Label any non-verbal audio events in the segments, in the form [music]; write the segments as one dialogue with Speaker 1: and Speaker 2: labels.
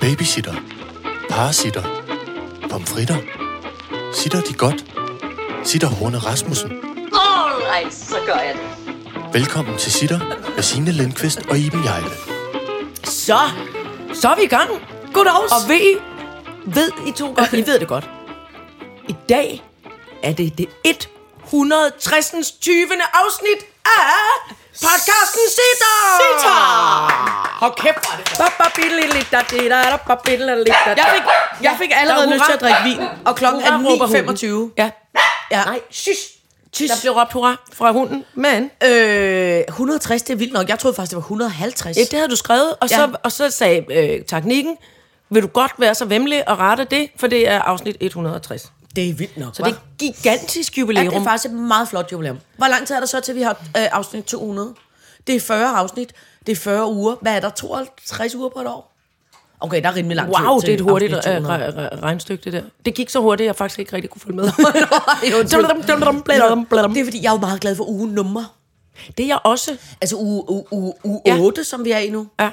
Speaker 1: Babysitter. Parasitter. Pomfritter. Sitter de godt? Sitter Horne Rasmussen.
Speaker 2: Alright, så gør jeg det.
Speaker 1: Velkommen til Sitter med Signe Lindqvist og Iben Jejle.
Speaker 3: Så, så er vi i gang.
Speaker 4: Goddags.
Speaker 3: Og ved I, ved I to godt, I ved det godt. I dag er det det 160. 20. afsnit af podcasten Sitter.
Speaker 4: Sitter!
Speaker 3: Hold kæft, var det
Speaker 4: Jeg fik, jeg fik allerede lyst til at drikke vin.
Speaker 3: Og klokken
Speaker 4: Hurra, råber hunden.
Speaker 3: er 9.25. Ja. ja.
Speaker 4: Nej,
Speaker 3: shush. Der blev råbt hurra fra hunden, men...
Speaker 4: Øh, 160, det er vildt nok. Jeg troede faktisk, det var 150.
Speaker 3: Ja, det havde du skrevet, og, ja.
Speaker 4: Ja.
Speaker 3: så, og så sagde øh, teknikken, vil du godt være så venlig og rette det, for det er afsnit 160. Så
Speaker 4: det er vildt nok, Så
Speaker 3: det er et gigantisk
Speaker 4: Ja,
Speaker 3: jubilæum.
Speaker 4: det er faktisk et meget flot jubilæum. Hvor lang tid er der så til, vi har øh, afsnit 200? Det er 40 afsnit. Det er 40 uger. Hvad er der? 52 uger på et år? Okay, der er rimelig lang tid
Speaker 3: wow,
Speaker 4: til
Speaker 3: det er et hurtigt
Speaker 4: afsnit
Speaker 3: øh,
Speaker 4: 200.
Speaker 3: re- re- regnestykke, det der. Det gik så hurtigt, at jeg faktisk ikke rigtig kunne følge med.
Speaker 4: [laughs] Nej, undskyld.
Speaker 3: Dum, dum, dum, bladum, bladum.
Speaker 4: Det er fordi, jeg er jo meget glad for ugen nummer.
Speaker 3: Det er jeg også.
Speaker 4: Altså uge, uge, uge, uge
Speaker 3: Ja.
Speaker 4: 8, som vi er i nu.
Speaker 3: Ja,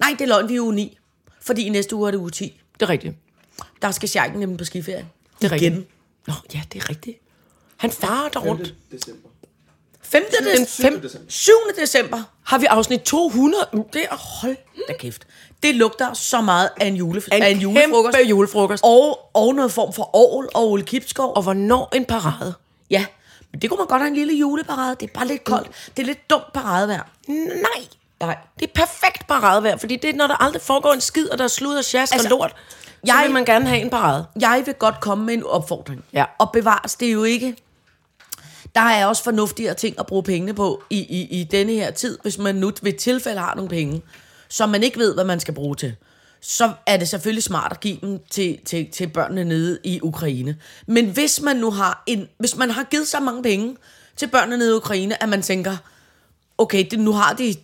Speaker 4: Nej, det er løgn, vi er i uge 9. Fordi i næste uge er det uge 10.
Speaker 3: det er rigtigt.
Speaker 4: Der skal Sjakken nemlig på skiferie.
Speaker 3: Det er
Speaker 4: Igen.
Speaker 3: rigtigt. Nå, ja, det er rigtigt. Han farer der rundt.
Speaker 5: december.
Speaker 4: 5.
Speaker 3: Den
Speaker 4: december.
Speaker 3: fem-
Speaker 4: 7. december.
Speaker 3: Har vi afsnit 200? Mm, Det er hold
Speaker 4: Da kæft. Det lugter så meget af en, julef- af en julefrokost.
Speaker 3: julefrokost. kæmpe julefrokost. Og,
Speaker 4: Og, og noget form for Aarhus og Ole Kipskov.
Speaker 3: og hvornår en parade?
Speaker 4: Ja, men det kunne man godt have en lille juleparade. Det er bare lidt koldt. Det er lidt dumt paradevejr.
Speaker 3: Nej,
Speaker 4: Nej.
Speaker 3: det er perfekt paradevejr, fordi det er, når der aldrig foregår en skid, og der er slud og sjask altså,
Speaker 4: Altså,
Speaker 3: og lort, så jeg,
Speaker 4: jeg-
Speaker 3: vil man gerne have en parade.
Speaker 4: Jeg vil godt komme med en opfordring.
Speaker 3: Ja.
Speaker 4: Og bevares, det er jo ikke... Der er også fornuftigere ting at bruge pengene på i, i, i denne her tid, hvis man nu ved tilfælde har nogle penge, som man ikke ved, hvad man skal bruge til. Så er det selvfølgelig smart at give dem til, til, til børnene nede i Ukraine. Men hvis man nu har en, hvis man har givet så mange penge til børnene nede i Ukraine, at man tænker, okay, det, nu har de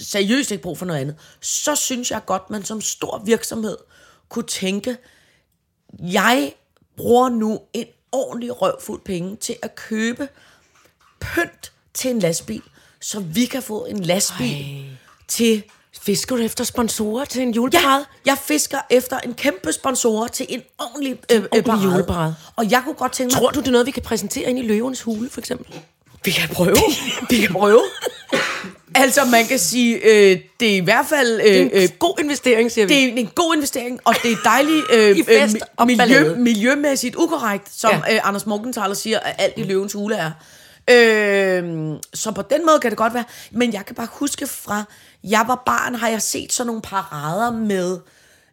Speaker 4: seriøst ikke brug for noget andet, så synes jeg godt, man som stor virksomhed kunne tænke, jeg bruger nu en ordentlig røvfuld penge til at købe pynt til en lastbil, så vi kan få en lastbil Ej. til...
Speaker 3: Fisker du efter sponsorer til en
Speaker 4: Ja,
Speaker 3: juleparade?
Speaker 4: jeg fisker efter en kæmpe sponsor til en ordentlig, øh, øh,
Speaker 3: ordentlig
Speaker 4: parade.
Speaker 3: juleparade.
Speaker 4: Og jeg kunne godt tænke mig...
Speaker 3: Tror du, det er noget, vi kan præsentere ind i løvens hule, for eksempel?
Speaker 4: Vi kan prøve.
Speaker 3: [laughs]
Speaker 4: vi kan prøve. altså, man kan sige, øh, det er i hvert fald... Øh,
Speaker 3: Det er
Speaker 4: øh,
Speaker 3: en god investering, siger vi.
Speaker 4: det er en god investering, og det er dejligt øh,
Speaker 3: [laughs] I fest
Speaker 4: øh, mi-
Speaker 3: og
Speaker 4: miljø,
Speaker 3: ballade.
Speaker 4: miljømæssigt ukorrekt, som
Speaker 3: Ja.
Speaker 4: ja. øh, Anders Morgenthaler siger, at alt i løvens hule er. Øh, så på den måde kan det godt være. Men jeg kan bare huske fra, jeg var barn, har jeg set sådan nogle parader med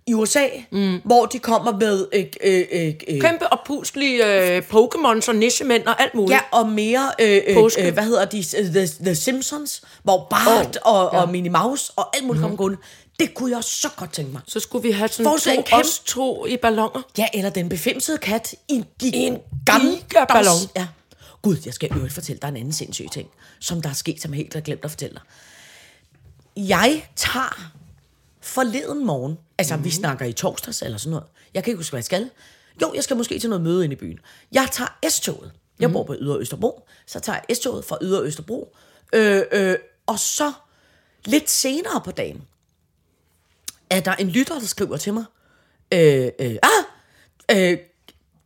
Speaker 4: i USA, mm. hvor de kommer med... Øh, øh, øh, øh,
Speaker 3: Kæmpe og puslige øh, Pokémons og nissemænd og alt muligt.
Speaker 4: Ja, og mere, øh, øh,
Speaker 3: Påske.
Speaker 4: øh, hvad hedder de, The, The Simpsons, hvor Bart oh, og, ja. og Minnie Mouse og alt
Speaker 3: Mhm.
Speaker 4: muligt mm-hmm. kom gående. Det kunne jeg så godt tænke mig.
Speaker 3: Så skulle vi have sådan
Speaker 4: Forestil dig
Speaker 3: to,
Speaker 4: en kæmpe-
Speaker 3: os to i ballonger.
Speaker 4: Ja, eller den befimsede kat i en, gi- en
Speaker 3: gigaballon.
Speaker 4: Ja. Gud, jeg skal i øvrigt fortælle dig en anden sindssyg ting, som der er sket, som jeg helt har glemt at fortælle dig. Jeg tager forleden morgen, altså mm-hmm. vi snakker i torsdags eller sådan noget, jeg kan ikke huske, hvad jeg skal. Jo, jeg skal måske til noget møde inde i byen. Jeg tager S-toget. Jeg bor på Ydre Østerbro, så tager jeg S-toget fra Ydre Østerbro. Øh, øh, og så lidt senere på dagen, er der en lytter, der skriver til mig, øh, øh, ah, øh,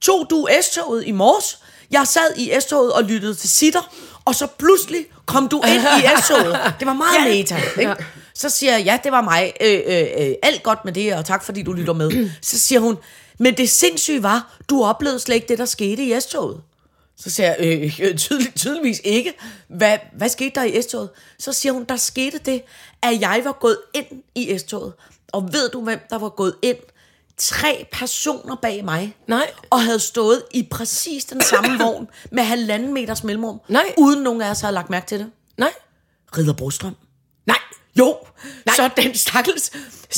Speaker 4: tog du S-toget i morges? Jeg sad i S-toget og lyttede til sitter, og så pludselig kom du ind i S-toget. Det var meget ja. meta. Ikke? Ja. Så siger jeg, ja, det var mig. Øh, øh, øh, alt godt med det, og tak fordi du lytter med. Så siger hun, men det sindssyge var, du oplevede slet ikke det, der skete i S-toget. Så siger jeg, øh, øh, tydelig, tydeligvis ikke. Hvad, hvad skete der i S-toget? Så siger hun, der skete det, at jeg var gået ind i S-toget. Og ved du, hvem der var gået ind? Tre personer bag mig.
Speaker 3: Nej.
Speaker 4: Og havde stået i præcis den
Speaker 3: [coughs]
Speaker 4: samme vogn med halvanden meters mellemrum.
Speaker 3: Nej.
Speaker 4: Uden nogen af os havde lagt mærke til det.
Speaker 3: Nej.
Speaker 4: Ridder Brostrøm.
Speaker 3: Nej.
Speaker 4: Jo, Nej.
Speaker 3: Nej.
Speaker 4: så den stakkels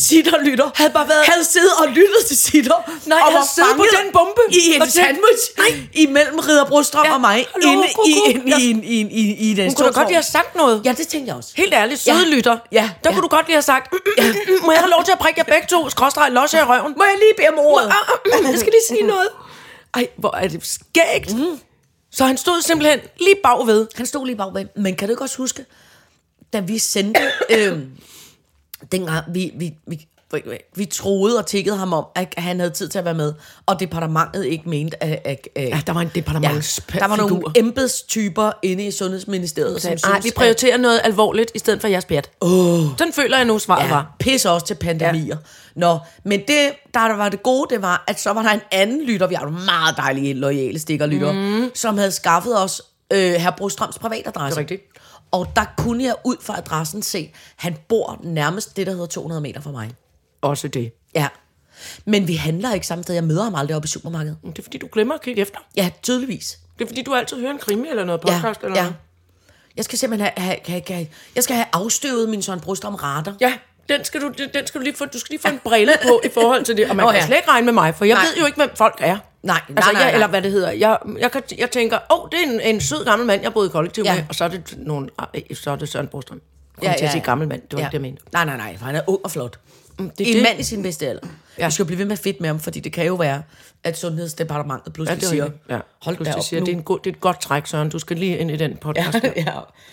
Speaker 4: sitterlytter
Speaker 3: Havde bare været-
Speaker 4: havde siddet og lyttet til sitter.
Speaker 3: Nej,
Speaker 4: og
Speaker 3: havde
Speaker 4: var
Speaker 3: siddet på
Speaker 4: fanget
Speaker 3: den bombe
Speaker 4: I en
Speaker 3: og tænkt-
Speaker 4: sandwich
Speaker 3: Nej.
Speaker 4: imellem Ridder Brostrøm
Speaker 3: Ja,
Speaker 4: ja. og mig.
Speaker 3: hallo,
Speaker 4: inde i,
Speaker 3: kuku.
Speaker 4: en, i, en, i, en, i, i den
Speaker 3: Hun kunne da godt lige have sagt noget.
Speaker 4: Ja, det tænkte jeg også.
Speaker 3: Helt ærligt, søde
Speaker 4: Ja.
Speaker 3: lytter.
Speaker 4: Ja.
Speaker 3: Der
Speaker 4: Ja.
Speaker 3: kunne du godt lige have sagt, mm, mm, mm, mm, må jeg have lov til at prikke jer begge to, skråstrej, losse i røven.
Speaker 4: Må jeg lige bede om ordet?
Speaker 3: Ah, ah, Jeg skal lige
Speaker 4: [laughs]
Speaker 3: sige noget. Ej, hvor er det skægt. Så han stod simpelthen lige bagved.
Speaker 4: Mm. Han stod lige bagved. Men kan du ikke også huske, da vi sendte... øh, øhm, dengang vi, vi, vi vi troede og tikkede ham om, at han havde tid til at være med, og departementet ikke mente, at... at, at
Speaker 3: Ja, der var en departements-
Speaker 4: der var nogle
Speaker 3: figur.
Speaker 4: embedstyper inde i Sundhedsministeriet, som
Speaker 3: Nej, vi prioriterer noget alvorligt i stedet for jeres pjat. Oh. Den føler jeg nu, svaret ja.
Speaker 4: ja,
Speaker 3: var.
Speaker 4: pisse også til pandemier. Ja. Nå, men det, der var det gode, det var, at så var der en anden lytter, vi har nogle meget dejlige, lojale stikkerlytter, mm. som havde skaffet os øh, herr Brostrøms privatadresse.
Speaker 3: Det er rigtigt.
Speaker 4: Og der kunne jeg ud fra adressen se, han bor nærmest det, der hedder 200 meter fra mig.
Speaker 3: Også det.
Speaker 4: Ja. Men vi handler ikke samme sted. Jeg møder ham aldrig oppe i supermarkedet.
Speaker 3: Men Det er fordi, du glemmer at kigge efter.
Speaker 4: Ja, tydeligvis.
Speaker 3: Det er fordi, du altid hører en krimi eller noget
Speaker 4: Ja,
Speaker 3: podcast eller
Speaker 4: ja.
Speaker 3: noget.
Speaker 4: Jeg skal simpelthen have, have, have, have, jeg skal have afstøvet min Søren Brostrøm radar.
Speaker 3: Ja, den skal du, den skal du lige få, du skal lige få en brille på i forhold til det. Og man
Speaker 4: Nå,
Speaker 3: kan
Speaker 4: ja.
Speaker 3: slet ikke regne med mig, for jeg
Speaker 4: Nej.
Speaker 3: ved jo ikke, hvem folk er.
Speaker 4: Nej, nej,
Speaker 3: altså,
Speaker 4: nej,
Speaker 3: Jeg,
Speaker 4: nej.
Speaker 3: Eller hvad det hedder. Jeg, jeg, kan, jeg tænker, åh, oh, det er en, en sød gammel mand, jeg boede i kollektiv
Speaker 4: Ja.
Speaker 3: ja. med, og så er det, nogen, øh, så er det Søren Brostrøm. Kom ja, til at sige gammel mand, det var ja. ikke det, jeg mente.
Speaker 4: Nej, nej, nej, for han er ung og flot. Mm,
Speaker 3: det er
Speaker 4: det er en
Speaker 3: det.
Speaker 4: mand i sin bedste alder. Ja.
Speaker 3: Ja.
Speaker 4: Vi skal jo blive ved med fedt med ham, fordi det kan jo være, at Sundhedsdepartementet pludselig ja, siger,
Speaker 3: ja.
Speaker 4: hold da op
Speaker 3: siger,
Speaker 4: nu.
Speaker 3: det, er en god, det er et godt træk, Søren. Du skal lige ind i den podcast. der.
Speaker 4: [laughs] ja.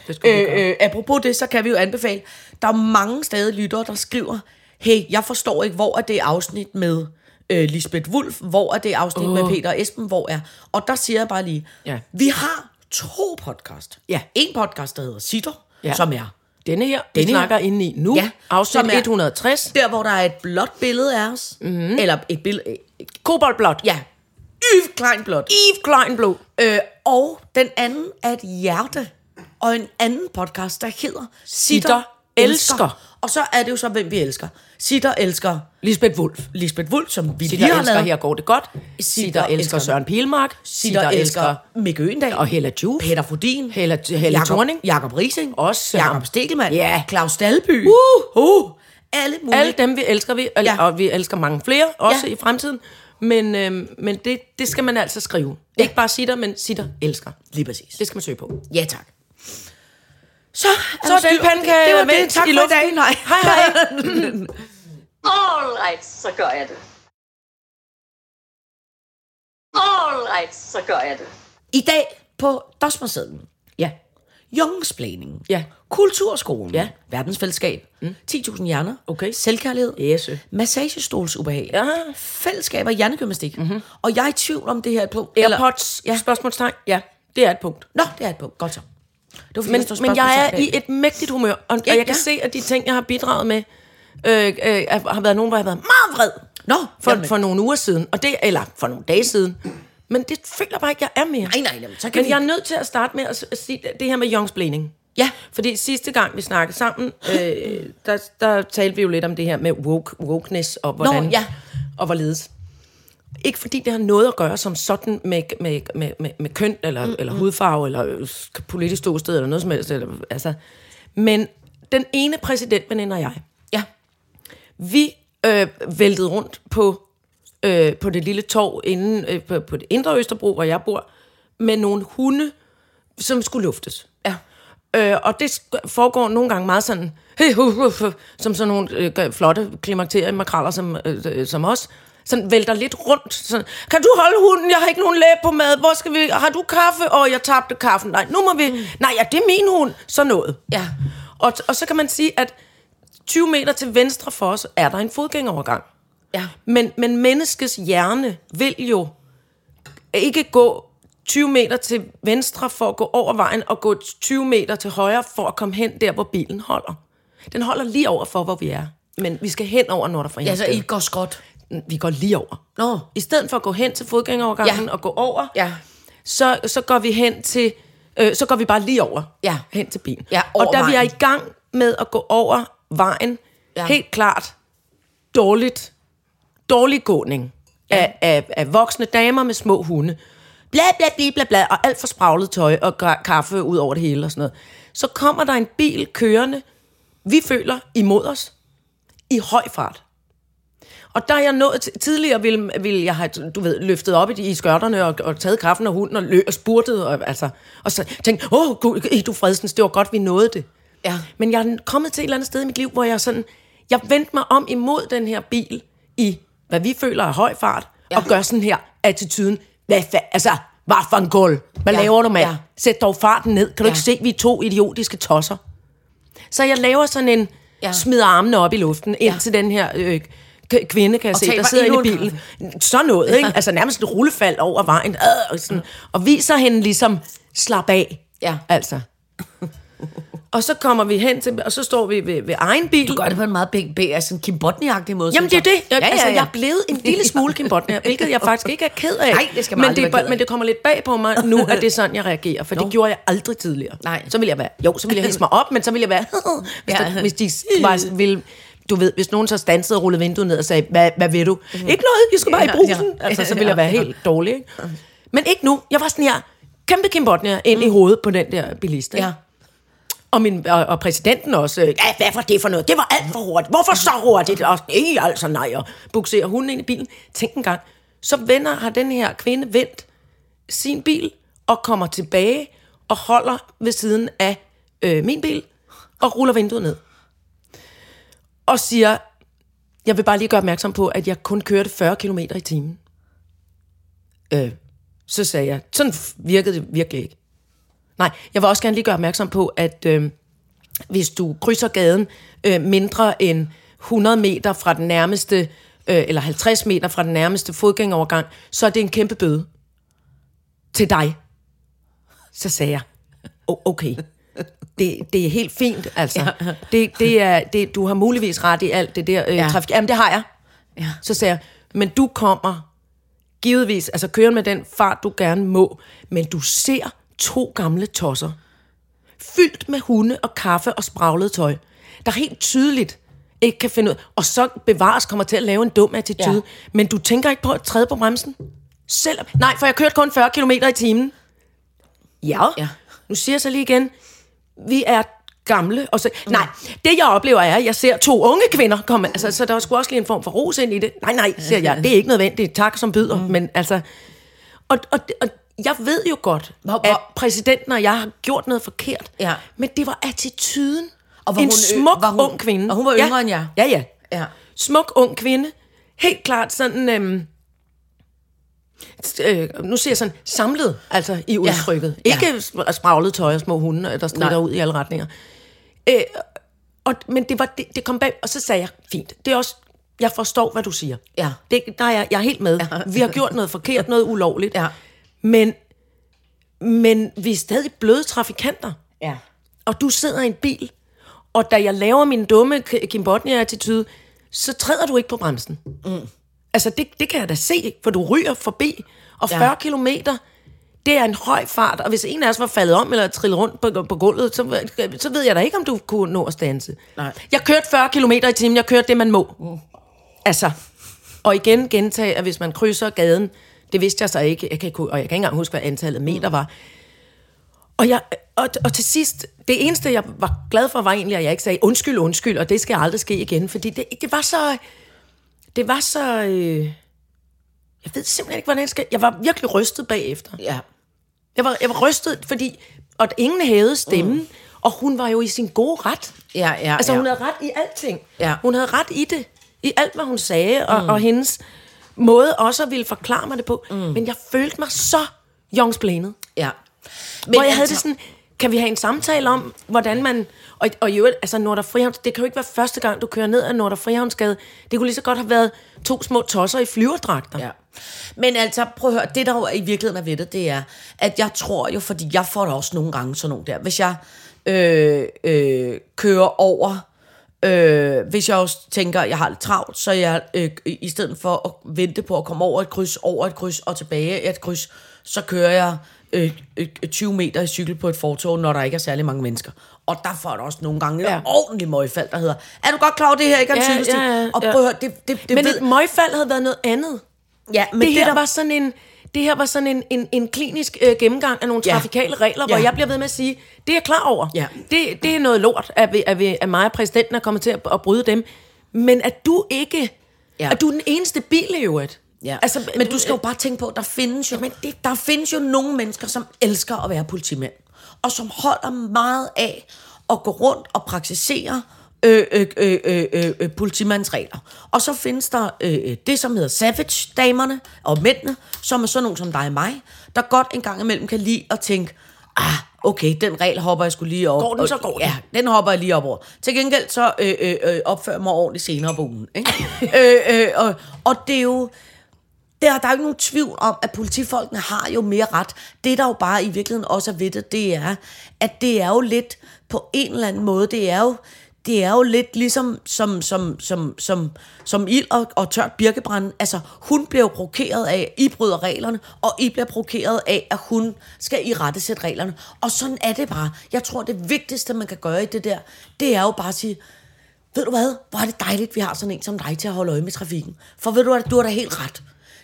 Speaker 3: Det skal vi
Speaker 4: øh,
Speaker 3: gøre.
Speaker 4: øh, apropos det, så kan vi jo anbefale, der er mange stadig lyttere, der skriver, hey, jeg forstår ikke, hvor er det afsnit med øh, Lisbeth Wulf, hvor er det afsnit oh. med Peter og Esben, hvor er... Og der siger jeg bare lige,
Speaker 3: Ja.
Speaker 4: vi har to podcast.
Speaker 3: Ja.
Speaker 4: En podcast, der hedder Sitter,
Speaker 3: Ja.
Speaker 4: ja. som er
Speaker 3: Denne her, Denne vi
Speaker 4: Denne her.
Speaker 3: snakker inde i nu, ja,
Speaker 4: Ja,
Speaker 3: afsnit
Speaker 4: som er-
Speaker 3: 160.
Speaker 4: der, hvor der er et blåt billede af os.
Speaker 3: Mhm.
Speaker 4: Mm-hmm. Eller et billede...
Speaker 3: Koboldblåt.
Speaker 4: Ja. Yves Kleinblot.
Speaker 3: Yves Kleinblå.
Speaker 4: Øh, og den anden er et hjerte. Og en anden podcast, der hedder Sitter
Speaker 3: Elsker.
Speaker 4: Elsker. Og så er det jo så, hvem vi elsker. Sitter Elsker
Speaker 3: Lisbeth Wulf.
Speaker 4: Lisbeth Wulf, som vi
Speaker 3: Sitter
Speaker 4: lige har
Speaker 3: elsker,
Speaker 4: lavet.
Speaker 3: her går det godt. Sitter elsker
Speaker 4: elsker-
Speaker 3: Søren Pilmark.
Speaker 4: Sitter Elsker Mikke Øendal.
Speaker 3: og Hella Juf.
Speaker 4: Peter Fodin.
Speaker 3: Hella, Hella
Speaker 4: Jakob-
Speaker 3: Thorning.
Speaker 4: Jakob Rising.
Speaker 3: Også ham.
Speaker 4: Jakob Stegelmann.
Speaker 3: Ja.
Speaker 4: Claus Dalby.
Speaker 3: Uh, uh.
Speaker 4: Alle mulige.
Speaker 3: Alle dem, vi elsker, vi, og, ja.
Speaker 4: Ja.
Speaker 3: og vi elsker mange flere, også ja.
Speaker 4: Ja.
Speaker 3: i fremtiden. Men, øhm, men det, det skal man altså skrive. Ja. Ikke bare sitter, men sitter elsker.
Speaker 4: Lige præcis.
Speaker 3: Det skal man søge på.
Speaker 4: Ja, tak. Så,
Speaker 3: Så er den pandekage
Speaker 4: Det var det.
Speaker 3: vendt
Speaker 4: Tak
Speaker 3: i
Speaker 4: for i
Speaker 3: luften.
Speaker 4: dag. Nej.
Speaker 3: Hej hej!
Speaker 2: All right, så gør jeg det. All right, så gør jeg det.
Speaker 4: [laughs] I dag på Dosmersedlen,
Speaker 3: ja,
Speaker 4: Jungsplaningen,
Speaker 3: Ja.
Speaker 4: Kulturskolen,
Speaker 3: Ja.
Speaker 4: Verdensfællesskab, mm. 10.000 hjerner,
Speaker 3: Okay.
Speaker 4: Selvkærlighed,
Speaker 3: Yes.
Speaker 4: Massagestolsubehag,
Speaker 3: Ja.
Speaker 4: Fællesskab og hjernegymnastik. Mm-hmm.
Speaker 3: Mhm.
Speaker 4: Og jeg er i tvivl om det her er et punkt.
Speaker 3: AirPods, ja. spørgsmålstegn. Ja, det er et punkt.
Speaker 4: Nå, det er et punkt. Godt så. Det var, fordi,
Speaker 3: Men,
Speaker 4: der står
Speaker 3: men jeg er
Speaker 4: spørgsmålstegn
Speaker 3: i
Speaker 4: bag.
Speaker 3: et mægtigt humør, og, ja,
Speaker 4: Ja,
Speaker 3: og jeg kan
Speaker 4: ja.
Speaker 3: se, at de ting, jeg har bidraget med, øh, øh, er- har været nogen, hvor jeg har været meget vred.
Speaker 4: Nå,
Speaker 3: for,
Speaker 4: jamen.
Speaker 3: for nogle uger siden, og det, eller for nogle dage siden. Men det føler jeg bare ikke, jeg er mere.
Speaker 4: Nej, nej, jamen, så kan
Speaker 3: Men
Speaker 4: vi-
Speaker 3: jeg er nødt til at starte med at, s- at sige det her med Jongs blænding.
Speaker 4: Ja.
Speaker 3: Fordi sidste gang, vi snakkede sammen, øh, der, der talte vi jo lidt om det her med woke, wokeness og hvordan...
Speaker 4: ja.
Speaker 3: Og hvorledes. Ikke fordi det har noget at gøre som sådan med, med, med, med, med køn, eller, mm, eller hudfarve, eller øh, sk- politisk ståsted, eller noget som helst. Eller, altså. Men den ene præsidentveninde og jeg,
Speaker 4: Ja.
Speaker 3: vi øh, væltede rundt på, øh, på det lille torv inde øh, på, på det indre Østerbro, hvor jeg bor, med nogle hunde, som skulle luftes.
Speaker 4: Ja.
Speaker 3: Øh, og det sk- foregår nogle gange meget sådan, hey, hu, hu, hu, som sådan nogle øh, gør- flotte klimakterier makraller som, øh, øh, som os, sådan vælter lidt rundt. Sådan, kan du holde hunden? Jeg har ikke nogen læge på mad. Hvor skal vi? Har du kaffe? Åh, jeg tabte kaffen. Nej, nu må vi... Nej, ja, det er min hund. Så noget.
Speaker 4: Ja.
Speaker 3: Og, og så kan man sige, at 20 meter til venstre for os er der en fodgængerovergang.
Speaker 4: Ja.
Speaker 3: Men, men menneskets hjerne vil jo ikke gå 20 meter til venstre for at gå over vejen, og gå 20 meter til højre for at komme hen der, hvor bilen holder. Den holder lige over for, hvor vi er. Men vi skal hen over, når der
Speaker 4: Ja, så I
Speaker 3: forhindres.
Speaker 4: går skråt.
Speaker 3: Ja, vi går lige over.
Speaker 4: Nå.
Speaker 3: I stedet for at gå hen til fodgængerovergangen
Speaker 4: Ja.
Speaker 3: og gå over,
Speaker 4: Ja.
Speaker 3: så, så går vi hen til, øh, så går vi bare lige over,
Speaker 4: Ja.
Speaker 3: hen til bilen.
Speaker 4: Ja,
Speaker 3: og
Speaker 4: over
Speaker 3: da vi er i
Speaker 4: vejen.
Speaker 3: gang med at gå over vejen, ja.
Speaker 4: Ja.
Speaker 3: helt klart dårligt, dårlig gåning ja. af, af, af voksne damer med små hunde. Bla, bla, bla, bla, bla, og alt for spraglet tøj og gra- kaffe ud over det hele og sådan noget. Så kommer der en bil kørende, vi føler imod os, i høj fart. Og der er jeg nået til- tidligere, ville, ville jeg have, du ved, løftet op i, de- i skørterne og, og taget kaffen og hunden og, lø, og spurtet, og, altså, og så tænkt, åh, oh, gud, eh, du fredsens, det var godt, vi nåede det.
Speaker 4: Ja.
Speaker 3: Men jeg er kommet til et eller andet sted i mit liv, hvor jeg sådan, jeg vendte mig om imod den her bil i, hvad vi føler er høj fart, ja. og gør sådan her attituden, hvad fa- altså, hvad for en gulv? Hvad ja.
Speaker 4: Ja,
Speaker 3: laver du, mand? Ja.
Speaker 4: ja.
Speaker 3: Sæt dog farten ned. Kan du
Speaker 4: Ja.
Speaker 3: ikke se, vi er to idiotiske tosser? Så jeg laver sådan en, ja. smider armene op i luften, ind ja. til den her øh, k- kvinde, kan jeg
Speaker 4: Og
Speaker 3: se,
Speaker 4: taber
Speaker 3: der sidder
Speaker 4: endnu
Speaker 3: inde i
Speaker 4: en
Speaker 3: bilen. Sådan noget, ikke? Altså nærmest et rullefald over vejen, øh, og, sådan, og viser hende ligesom, slap af,
Speaker 4: Ja.
Speaker 3: altså. og så kommer vi hen til, og så står vi ved, ved egen bil.
Speaker 4: Du gør det på en meget b- b- altså en Kim Bodnia-agtig måde.
Speaker 3: Jamen, det er
Speaker 4: synes
Speaker 3: det. Jeg, ja, ja, ja. Altså, jeg er
Speaker 4: ja.
Speaker 3: blevet en lille smule Kim
Speaker 4: [laughs]
Speaker 3: Bodnia, hvilket jeg faktisk ikke er ked af.
Speaker 4: Nej, det skal man
Speaker 3: men
Speaker 4: aldrig
Speaker 3: det,
Speaker 4: være
Speaker 3: er-
Speaker 4: ked af.
Speaker 3: men det kommer lidt bag på mig nu, at det er sådan, jeg reagerer. For det gjorde jeg aldrig tidligere.
Speaker 4: Nej.
Speaker 3: Så ville jeg være, jo, så ville jeg hisse mig op, men så ville jeg være,
Speaker 4: [laughs]
Speaker 3: hvis,
Speaker 4: Ja.
Speaker 3: der, hvis de var, ville, du ved, hvis nogen så stansede og rullede vinduet ned og sagde, hvad, hvad vil du? Ikke noget, jeg skal bare i
Speaker 4: Mhm. Ja,
Speaker 3: brusen.
Speaker 4: ja.
Speaker 3: Altså,
Speaker 4: [laughs]
Speaker 3: så ville jeg
Speaker 4: Ja.
Speaker 3: være helt dårlig. Ikke? Men ikke nu. Jeg var sådan her, kæmpe Kim Bodnia ind i hovedet på den der bilist. ikke?
Speaker 4: Mm. Ja.
Speaker 3: Og, min, og, og præsidenten også. øh, Ja, hvad var det for noget? Det var alt for hurtigt. Hvorfor så hurtigt? Og I altså nej. Og bukserer hunden ind i bilen. Tænk en gang. Så vender, har den her kvinde vendt sin bil og kommer tilbage og holder ved siden af øh, min bil og ruller vinduet ned. Og siger, jeg vil bare lige gøre opmærksom på, at jeg kun kørte 40 km i timen. Øh, så sagde jeg, sådan virkede det virkelig ikke. Nej, jeg vil også gerne lige gøre opmærksom på, at øh, hvis du krydser gaden øh, mindre end 100 meter fra den nærmeste, øh, eller 50 meter fra den nærmeste fodgængerovergang, så er det en kæmpe bøde til dig. Så sagde jeg, "O- okay, det, det er helt fint, altså. Ja. Det, det er, det, du har muligvis ret i alt det der øh,
Speaker 4: Ja.
Speaker 3: ja. trafik. Jamen, det har jeg.
Speaker 4: Ja.
Speaker 3: Så sagde jeg, men du kommer givetvis, altså kører med den fart, du gerne må, men du ser to gamle tosser, fyldt med hunde og kaffe og spraglet tøj, der helt tydeligt ikke kan finde ud, og så bevares kommer til at lave en dum attitude,
Speaker 4: Ja.
Speaker 3: ja. men du tænker ikke på at træde på bremsen? Selvom, nej, for jeg kørte kun 40 km i timen. Ja.
Speaker 4: Ja.
Speaker 3: ja. Nu siger jeg så lige igen, vi er gamle, og så, nej, det jeg oplever er, at jeg ser to unge kvinder komme, altså, så der er sgu også lige en form for ros ind i det. Nej, nej, siger jeg, det er ikke nødvendigt, tak som byder, mm. men altså, og, og, og jeg ved jo godt,
Speaker 4: Hvor-
Speaker 3: hvor,
Speaker 4: hvor-
Speaker 3: at præsidenten og jeg har gjort noget forkert,
Speaker 4: Ja.
Speaker 3: men det var attituden.
Speaker 4: Og
Speaker 3: Og var
Speaker 4: var
Speaker 3: en
Speaker 4: hun ø-
Speaker 3: smuk,
Speaker 4: var hun-
Speaker 3: ung kvinde.
Speaker 4: og hun var yngre
Speaker 3: ja.
Speaker 4: end jer?
Speaker 3: Ja, ja.
Speaker 4: Ja.
Speaker 3: Smuk, ung kvinde. Helt klart sådan, øhm, s- øh, nu siger jeg sådan, samlet altså i udtrykket.
Speaker 4: Ja.
Speaker 3: Ikke sp- spraglet tøj og små hunde, øh, der strider
Speaker 4: Nej.
Speaker 3: ud i alle retninger. Øh, og, men det, var, det, det kom bag, og så sagde jeg, fint, det er også, jeg forstår, hvad du siger.
Speaker 4: Ja.
Speaker 3: Det, der er jeg, jeg er helt med.
Speaker 4: Ja.
Speaker 3: Ja. Vi har gjort noget forkert, noget ulovligt.
Speaker 4: Ja.
Speaker 3: Men, men vi er stadig bløde trafikanter
Speaker 4: Ja.
Speaker 3: og du sidder i en bil, og da jeg laver min dumme K- Kim Bodnia-attitude, så træder du ikke på bremsen. Mm. Altså, det, det kan jeg da se, for du ryger forbi, og
Speaker 4: Ja.
Speaker 3: 40 ja. kilometer, det er en høj fart, og hvis en af os var faldet om eller trillet rundt på, på gulvet, så, så ved jeg da ikke, om du kunne nå at stanse.
Speaker 4: Nej.
Speaker 3: Jeg kørte 40 km i timen, jeg kørte det, man må. Mm. Altså, og igen gentage, at hvis man krydser gaden, det vidste jeg så ikke, jeg kan ikke, og jeg kan ikke engang huske, hvad antallet af meter var, og, jeg, og, og til sidst, det eneste, jeg var glad for, var egentlig, at jeg ikke sagde undskyld, undskyld, og det skal aldrig ske igen, fordi det, det var så... Det var så... Øh, jeg ved simpelthen ikke, hvordan jeg skal... Jeg var virkelig rystet bagefter.
Speaker 4: Ja.
Speaker 3: Jeg var, jeg var rystet, fordi... Og ingen havde stemmen, mm. og hun var jo i sin gode ret.
Speaker 4: Ja, ja,
Speaker 3: Altså,
Speaker 4: ja.
Speaker 3: hun havde ret i alting.
Speaker 4: Ja.
Speaker 3: Hun havde ret i det. I alt, hvad hun sagde, og, mm. og hendes måde også at ville forklare mig det på. Mm. Men jeg følte mig så jongsblænet.
Speaker 4: ja.
Speaker 3: Men hvor jeg havde
Speaker 4: altså-
Speaker 3: det sådan, kan vi have en samtale om, hvordan man... Og, og i øvrigt, altså Nord- og Frihavns, det kan jo ikke være første gang, du kører ned ad Nord- og Frihavnsgade. Det kunne lige så godt have været to små tosser i flyverdragter.
Speaker 4: Ja. Men altså, prøv at høre, det der jo i virkeligheden er ved det, det er, at jeg tror jo, fordi jeg får da også nogle gange sådan nogle der, hvis jeg øh, øh, kører over, øh, hvis jeg også tænker, at jeg har lidt travlt, så jeg øh, i stedet for at vente på at komme over et kryds, over et kryds og tilbage et kryds, så kører jeg øh, øh, 20 meter i cykel på et fortog, når der ikke er særlig mange mennesker. Og der får der også nogle gange ja.
Speaker 3: Ja.
Speaker 4: en ordentlig møgfald, der hedder, er du godt klar over, det her ikke er en
Speaker 3: Ja,
Speaker 4: cykelsti?
Speaker 3: ja, ja,
Speaker 4: Og
Speaker 3: ja.
Speaker 4: prøv at høre, det, det, det
Speaker 3: Men
Speaker 4: ved,
Speaker 3: et møgfald havde været noget andet.
Speaker 4: ja, men
Speaker 3: Men det, her der... var sådan en... Det her var sådan en, en, en klinisk øh, gennemgang af nogle
Speaker 4: Ja.
Speaker 3: trafikale regler,
Speaker 4: Ja.
Speaker 3: hvor jeg bliver ved med at sige, det er jeg klar over.
Speaker 4: Ja.
Speaker 3: Det, det er noget lort, at, vi, at, vi, at mig og præsidenten er kommet til at, at bryde dem. Men at du ikke...
Speaker 4: Ja.
Speaker 3: Ja. At du er den eneste bil i øvrigt.
Speaker 4: Ja. Altså,
Speaker 3: Altså,
Speaker 4: men du skal jo bare tænke på, at der findes jo, men det, der findes jo nogle mennesker, som elsker at være politimænd, og som holder meget af at gå rundt og praktisere øh, øh, øh, øh, øh, øh, politimandsregler. Og så findes der øh, øh, det, som hedder savage-damerne og mændene, som er sådan nogle som dig og mig, der godt en gang imellem kan lide at tænke, ah, okay, den regel hopper jeg skulle lige op.
Speaker 3: Går den,
Speaker 4: og-
Speaker 3: så går den.
Speaker 4: Ja, den hopper jeg lige op over. Til gengæld så øh, øh, øh, opfører jeg mig ordentligt senere på ugen. [laughs] Ikke? øh, øh, og, og det er jo... Der, der er jo ikke nogen tvivl om, at politifolkene har jo mere ret. Det, der jo bare i virkeligheden også er ved det, det er, at det er jo lidt på en eller anden måde, det er jo, det er jo lidt ligesom som, som, som, som, som ild og, og tørt birkebrænde. Altså, hun bliver jo provokeret af, at I bryder reglerne, og I bliver provokeret af, at hun skal i rette sætte reglerne. Og sådan er det bare. Jeg tror, det vigtigste, man kan gøre i det der, det er jo bare at sige, ved du hvad, hvor er det dejligt, vi har sådan en som dig til at holde øje med trafikken. For ved du hvad, du har da helt ret.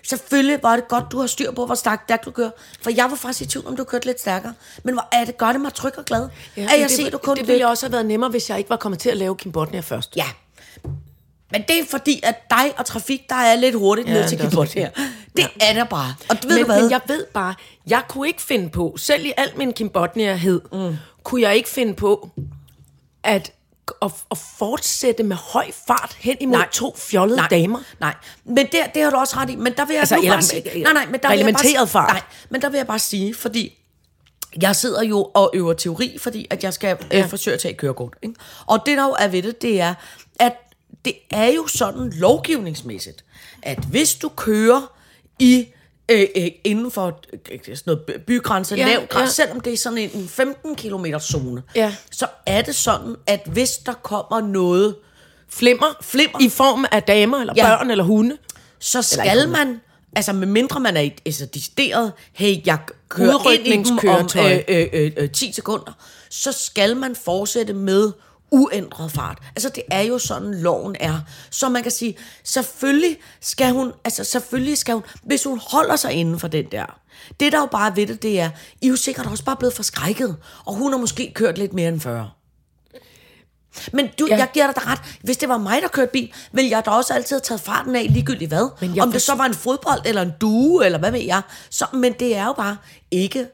Speaker 4: Selvfølgelig var det godt, du har styr på, hvor stærkt det er, du kører. For jeg var faktisk i tvivl, om du kørte lidt stærkere. Men hvor er det, gør det mig tryg og glad, ja, at
Speaker 3: men
Speaker 4: jeg
Speaker 3: det,
Speaker 4: ser, du kun
Speaker 3: Det ville også have været nemmere, hvis jeg ikke var kommet til at lave Kim Botnia først.
Speaker 4: Ja. Men det er fordi, at dig og trafik, der er lidt hurtigt ja,
Speaker 3: Ja,
Speaker 4: ned til
Speaker 3: det er
Speaker 4: Gibbon
Speaker 3: også
Speaker 4: her. Det er der bare. Og du ved
Speaker 3: men,
Speaker 4: du hvad?
Speaker 3: men jeg ved bare, jeg kunne ikke finde på, selv i al min Kim Botnia-hed, mm. kunne jeg ikke finde på, at, at, at fortsætte med høj fart hen imod
Speaker 4: Nej.
Speaker 3: nej. to fjollede
Speaker 4: nej,
Speaker 3: damer.
Speaker 4: Nej, men det, det har du også ret i. Men der vil jeg
Speaker 3: Altså,
Speaker 4: nu
Speaker 3: eller-
Speaker 4: bare sige... Nej, nej, men der vil jeg bare,
Speaker 3: reglementeret fart.
Speaker 4: Nej, men der vil jeg bare sige, fordi jeg sidder jo og øver teori, fordi at jeg skal øh, forsøge at tage et kørekort. Ikke? Og det der jo er ved det, det er, at det er jo sådan lovgivningsmæssigt, at hvis du kører i øh, øh, inden for øh, sådan noget by- bygrænse, ja,
Speaker 3: Ja,
Speaker 4: lav grænse,
Speaker 3: ja.
Speaker 4: selvom det er sådan en 15 km zone,
Speaker 3: Ja.
Speaker 4: så er det sådan, at hvis der kommer noget,
Speaker 3: Flimmer,
Speaker 4: Flimmer.
Speaker 3: i form af damer, eller
Speaker 4: Ja.
Speaker 3: ja. børn, eller hunde.
Speaker 4: så skal man, altså med mindre man er i- altså decideret, hey, jeg kører ind i dem om
Speaker 3: Udrykningskøretøj.
Speaker 4: øh, øh, øh, øh, 10 sekunder, så skal man fortsætte med uændret fart. Altså det er jo sådan loven er. Så man kan sige, selvfølgelig skal hun, altså selvfølgelig skal hun, hvis hun holder sig inden for den der. Det der jo bare er ved det, det er, I er jo sikkert også bare blevet forskrækket, og hun har måske kørt lidt mere end 40. Men du, ja.
Speaker 3: Ja.
Speaker 4: jeg giver dig da ret. Hvis det var mig, der kørte bil, ville jeg da også altid have taget farten af, ligegyldigt hvad.
Speaker 3: Men
Speaker 4: Men
Speaker 3: jeg
Speaker 4: Om det så var en fodbold, eller en due, eller hvad ved jeg. Så, men det er jo bare ikke...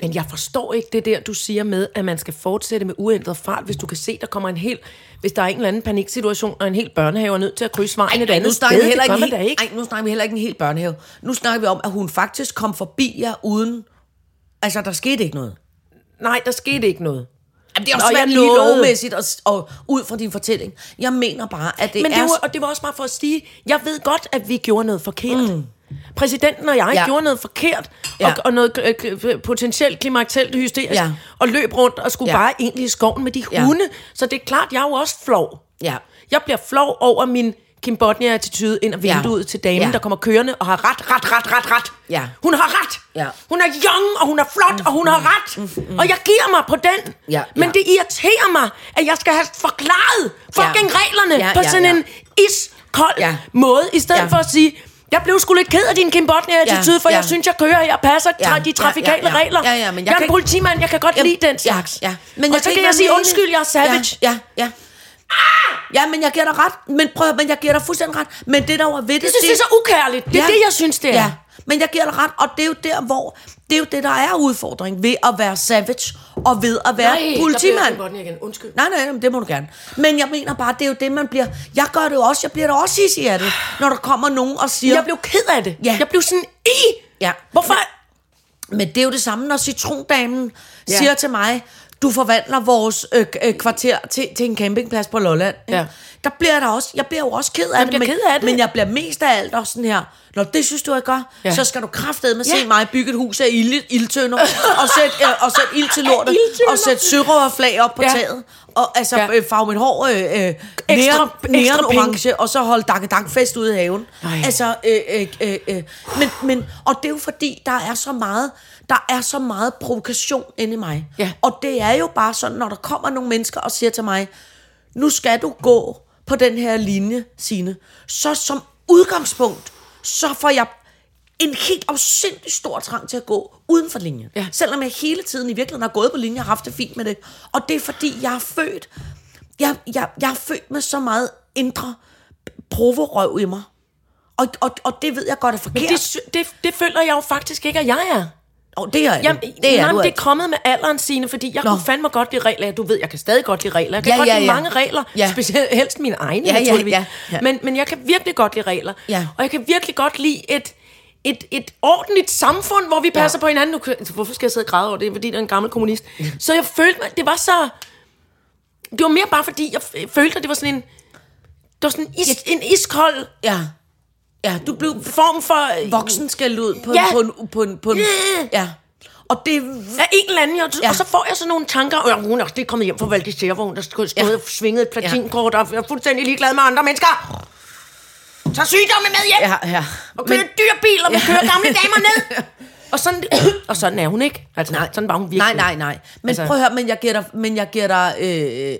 Speaker 3: Men jeg forstår ikke det der, du siger med, at man skal fortsætte med uændret fart, hvis du kan se, der kommer en hel... Hvis der er en eller anden paniksituation, og en hel børnehave er nødt til at krydse vejen et andet sted, det gør man da ikke.
Speaker 4: Ej, nu snakker vi heller ikke en hel børnehave. Nu snakker vi om, at hun faktisk kom forbi jer uden... Altså, der skete ikke noget.
Speaker 3: Nej, der skete ikke noget.
Speaker 4: Jamen, det er
Speaker 3: Nå,
Speaker 4: også svært
Speaker 3: jeg
Speaker 4: lige
Speaker 3: nåede.
Speaker 4: lovmæssigt og, og ud fra din fortælling. Jeg mener bare, at det
Speaker 3: Men
Speaker 4: er...
Speaker 3: det var, og det var også bare for at sige, jeg ved godt, at vi gjorde noget forkert. Mm. Præsidenten og jeg
Speaker 4: Ja.
Speaker 3: ja. gjorde noget forkert, ja.
Speaker 4: Ja.
Speaker 3: og, og noget øh, k- potentielt klimaktelt hysterisk,
Speaker 4: Ja.
Speaker 3: ja. og løb rundt og skulle
Speaker 4: Ja.
Speaker 3: ja. bare egentlig i skoven med de
Speaker 4: Ja.
Speaker 3: hunde. Så det er klart, jeg er jo også flov.
Speaker 4: Ja.
Speaker 3: Jeg bliver flov over min Kim Bodnia-attitude ind og
Speaker 4: Ja.
Speaker 3: vinduet til damen,
Speaker 4: Ja.
Speaker 3: ja. der kommer kørende og har ret, ret, ret, ret, ret.
Speaker 4: Ja.
Speaker 3: Hun har ret.
Speaker 4: Ja. Mm-hmm.
Speaker 3: Hun er young, og hun er flot, og hun har ret. Og jeg giver mig på den.
Speaker 4: Ja,
Speaker 3: Men
Speaker 4: ja.
Speaker 3: det irriterer mig, at jeg skal have forklaret fucking
Speaker 4: Ja.
Speaker 3: reglerne
Speaker 4: Ja,
Speaker 3: på
Speaker 4: ja,
Speaker 3: sådan
Speaker 4: ja.
Speaker 3: en iskold
Speaker 4: Ja.
Speaker 3: ja. måde, i stedet
Speaker 4: Ja.
Speaker 3: ja. for at sige, jeg blev sgu lidt ked af din Kim Botnia-attitude,
Speaker 4: Ja,
Speaker 3: for
Speaker 4: ja.
Speaker 3: jeg synes, jeg kører her og passer
Speaker 4: Ja,
Speaker 3: ja, de trafikale
Speaker 4: ja, ja, ja.
Speaker 3: regler.
Speaker 4: Ja, ja, men
Speaker 3: jeg
Speaker 4: jeg kan
Speaker 3: er en
Speaker 4: ikke-
Speaker 3: politimand, jeg kan godt
Speaker 4: Jamen,
Speaker 3: lide den slags.
Speaker 4: Ja, ja.
Speaker 3: Men og så kan
Speaker 4: ikke
Speaker 3: jeg
Speaker 4: være
Speaker 3: sige,
Speaker 4: med i
Speaker 3: undskyld,
Speaker 4: det.
Speaker 3: jeg er savage.
Speaker 4: Ja, ja. ja. Ja, men jeg giver dig ret. Men prøv at- men jeg giver dig fuldstændig ret. Men det, der var ved det...
Speaker 3: Jeg synes, det er så ukærligt. Det er det, jeg synes, det er.
Speaker 4: Ja, men jeg giver dig ret, og det er jo der, hvor... Det er jo det, der er udfordring ved at være savage og ved at være
Speaker 3: Nej,
Speaker 4: politimand.
Speaker 3: Der bliver igen. Undskyld.
Speaker 4: Nej, nej, men det må du gerne. Men jeg mener bare, det er jo det, man bliver... Jeg gør det jo også, jeg bliver da også hissig af det, når der kommer nogen og siger...
Speaker 3: Jeg blev ked af det.
Speaker 4: Ja.
Speaker 3: Jeg blev sådan, i.
Speaker 4: Ja.
Speaker 3: Hvorfor?
Speaker 4: Men det er jo det samme, når citrondamen ja.
Speaker 3: Ja.
Speaker 4: siger til mig, du forvandler vores øh, øh, kvarter til, til en campingplads på Lolland. ikke?
Speaker 3: Ja.
Speaker 4: Der bliver jeg da også, jeg bliver jo også ked af, det,
Speaker 3: bliver
Speaker 4: men,
Speaker 3: ked af det.
Speaker 4: men jeg bliver mest af alt også sådan her, når det synes du, jeg gør, ja.
Speaker 3: Ja.
Speaker 4: så skal du kraftedeme ja.
Speaker 3: Ja.
Speaker 4: se mig bygge et hus af ild, ildtønder, og sætte
Speaker 3: [laughs]
Speaker 4: øh, og sæt ild til lortet,
Speaker 3: Ildtønder.
Speaker 4: og sætte sørøverflag op på ja.
Speaker 3: Ja.
Speaker 4: taget, og altså ja.
Speaker 3: Ja.
Speaker 4: øh, farve mit hår øh, øh, ekstra, næren,
Speaker 3: ekstra
Speaker 4: næren
Speaker 3: penge.
Speaker 4: orange, og så holde dak dak fest ude i haven.
Speaker 3: Ej.
Speaker 4: Altså, Altså, øh, øh, øh, øh. Men, men, og det er jo fordi, der er så meget, der er så meget provokation inde i mig.
Speaker 3: Ja.
Speaker 4: Og det er jo bare sådan, når der kommer nogle mennesker og siger til mig, nu skal du gå på den her linje, sine. Så som udgangspunkt, så får jeg en helt afsindig stor trang til at gå uden for linjen.
Speaker 3: Ja.
Speaker 4: Selvom jeg hele tiden i virkeligheden har gået på linjen og haft det fint med det. Og det er fordi, jeg er født, jeg, jeg, jeg er født med så meget indre provorøv i mig. Og, og, og det ved jeg godt er forkert.
Speaker 3: Det, sy- det, det føler jeg jo faktisk ikke, at jeg er.
Speaker 4: oh, det er jeg.
Speaker 3: Jamen,
Speaker 4: det er
Speaker 3: jamen,
Speaker 4: du
Speaker 3: det er
Speaker 4: altså.
Speaker 3: kommet med alderen, sine, fordi jeg Nå. kunne fandme godt lide regler. Du ved, jeg kan stadig godt lide regler. Jeg kan
Speaker 4: Ja,
Speaker 3: ja, godt
Speaker 4: ja,
Speaker 3: lide
Speaker 4: ja.
Speaker 3: mange regler,
Speaker 4: Ja.
Speaker 3: ja. specielt helst mine egne,
Speaker 4: Ja, ja,
Speaker 3: naturligvis.
Speaker 4: ja, ja.
Speaker 3: Men, men jeg kan virkelig godt lide regler.
Speaker 4: Ja.
Speaker 3: Og jeg kan virkelig godt lide et, et, et ordentligt samfund, hvor vi passer ja. på hinanden. Nu, kan- hvorfor skal jeg sidde og græde over det? Fordi der er en gammel kommunist. Så jeg følte, mig- det var så... Det var mere bare fordi, jeg f- følte, at det var sådan en... Det var sådan en, is, en iskold
Speaker 4: Ja. Ja, du blev
Speaker 3: form for...
Speaker 4: voksen skal ud på, ja.
Speaker 3: Ja.
Speaker 4: på, en, på, en, på en,
Speaker 3: Ja.
Speaker 4: ja. Og det
Speaker 3: af en eller anden, og,
Speaker 4: Ja.
Speaker 3: ja. og så får jeg sådan nogle tanker, og hun er også lige kommet hjem fra Valdi Servogn, der stod
Speaker 4: Ja.
Speaker 3: ja. og svingede et platinkort, og jeg er fuldstændig ligeglad med andre mennesker. Tag sygdomme med hjem, ja.
Speaker 4: ja, ja.
Speaker 3: og kører men... dyr bil, og vi kører gamle damer
Speaker 4: [laughs]
Speaker 3: ned. Og sådan, og sådan er hun ikke. Altså, nej. Sådan var hun virkelig.
Speaker 4: Nej, nej, nej. Men altså,
Speaker 3: Altså-
Speaker 4: prøv at høre, men jeg giver dig, men jeg giver dig, øh,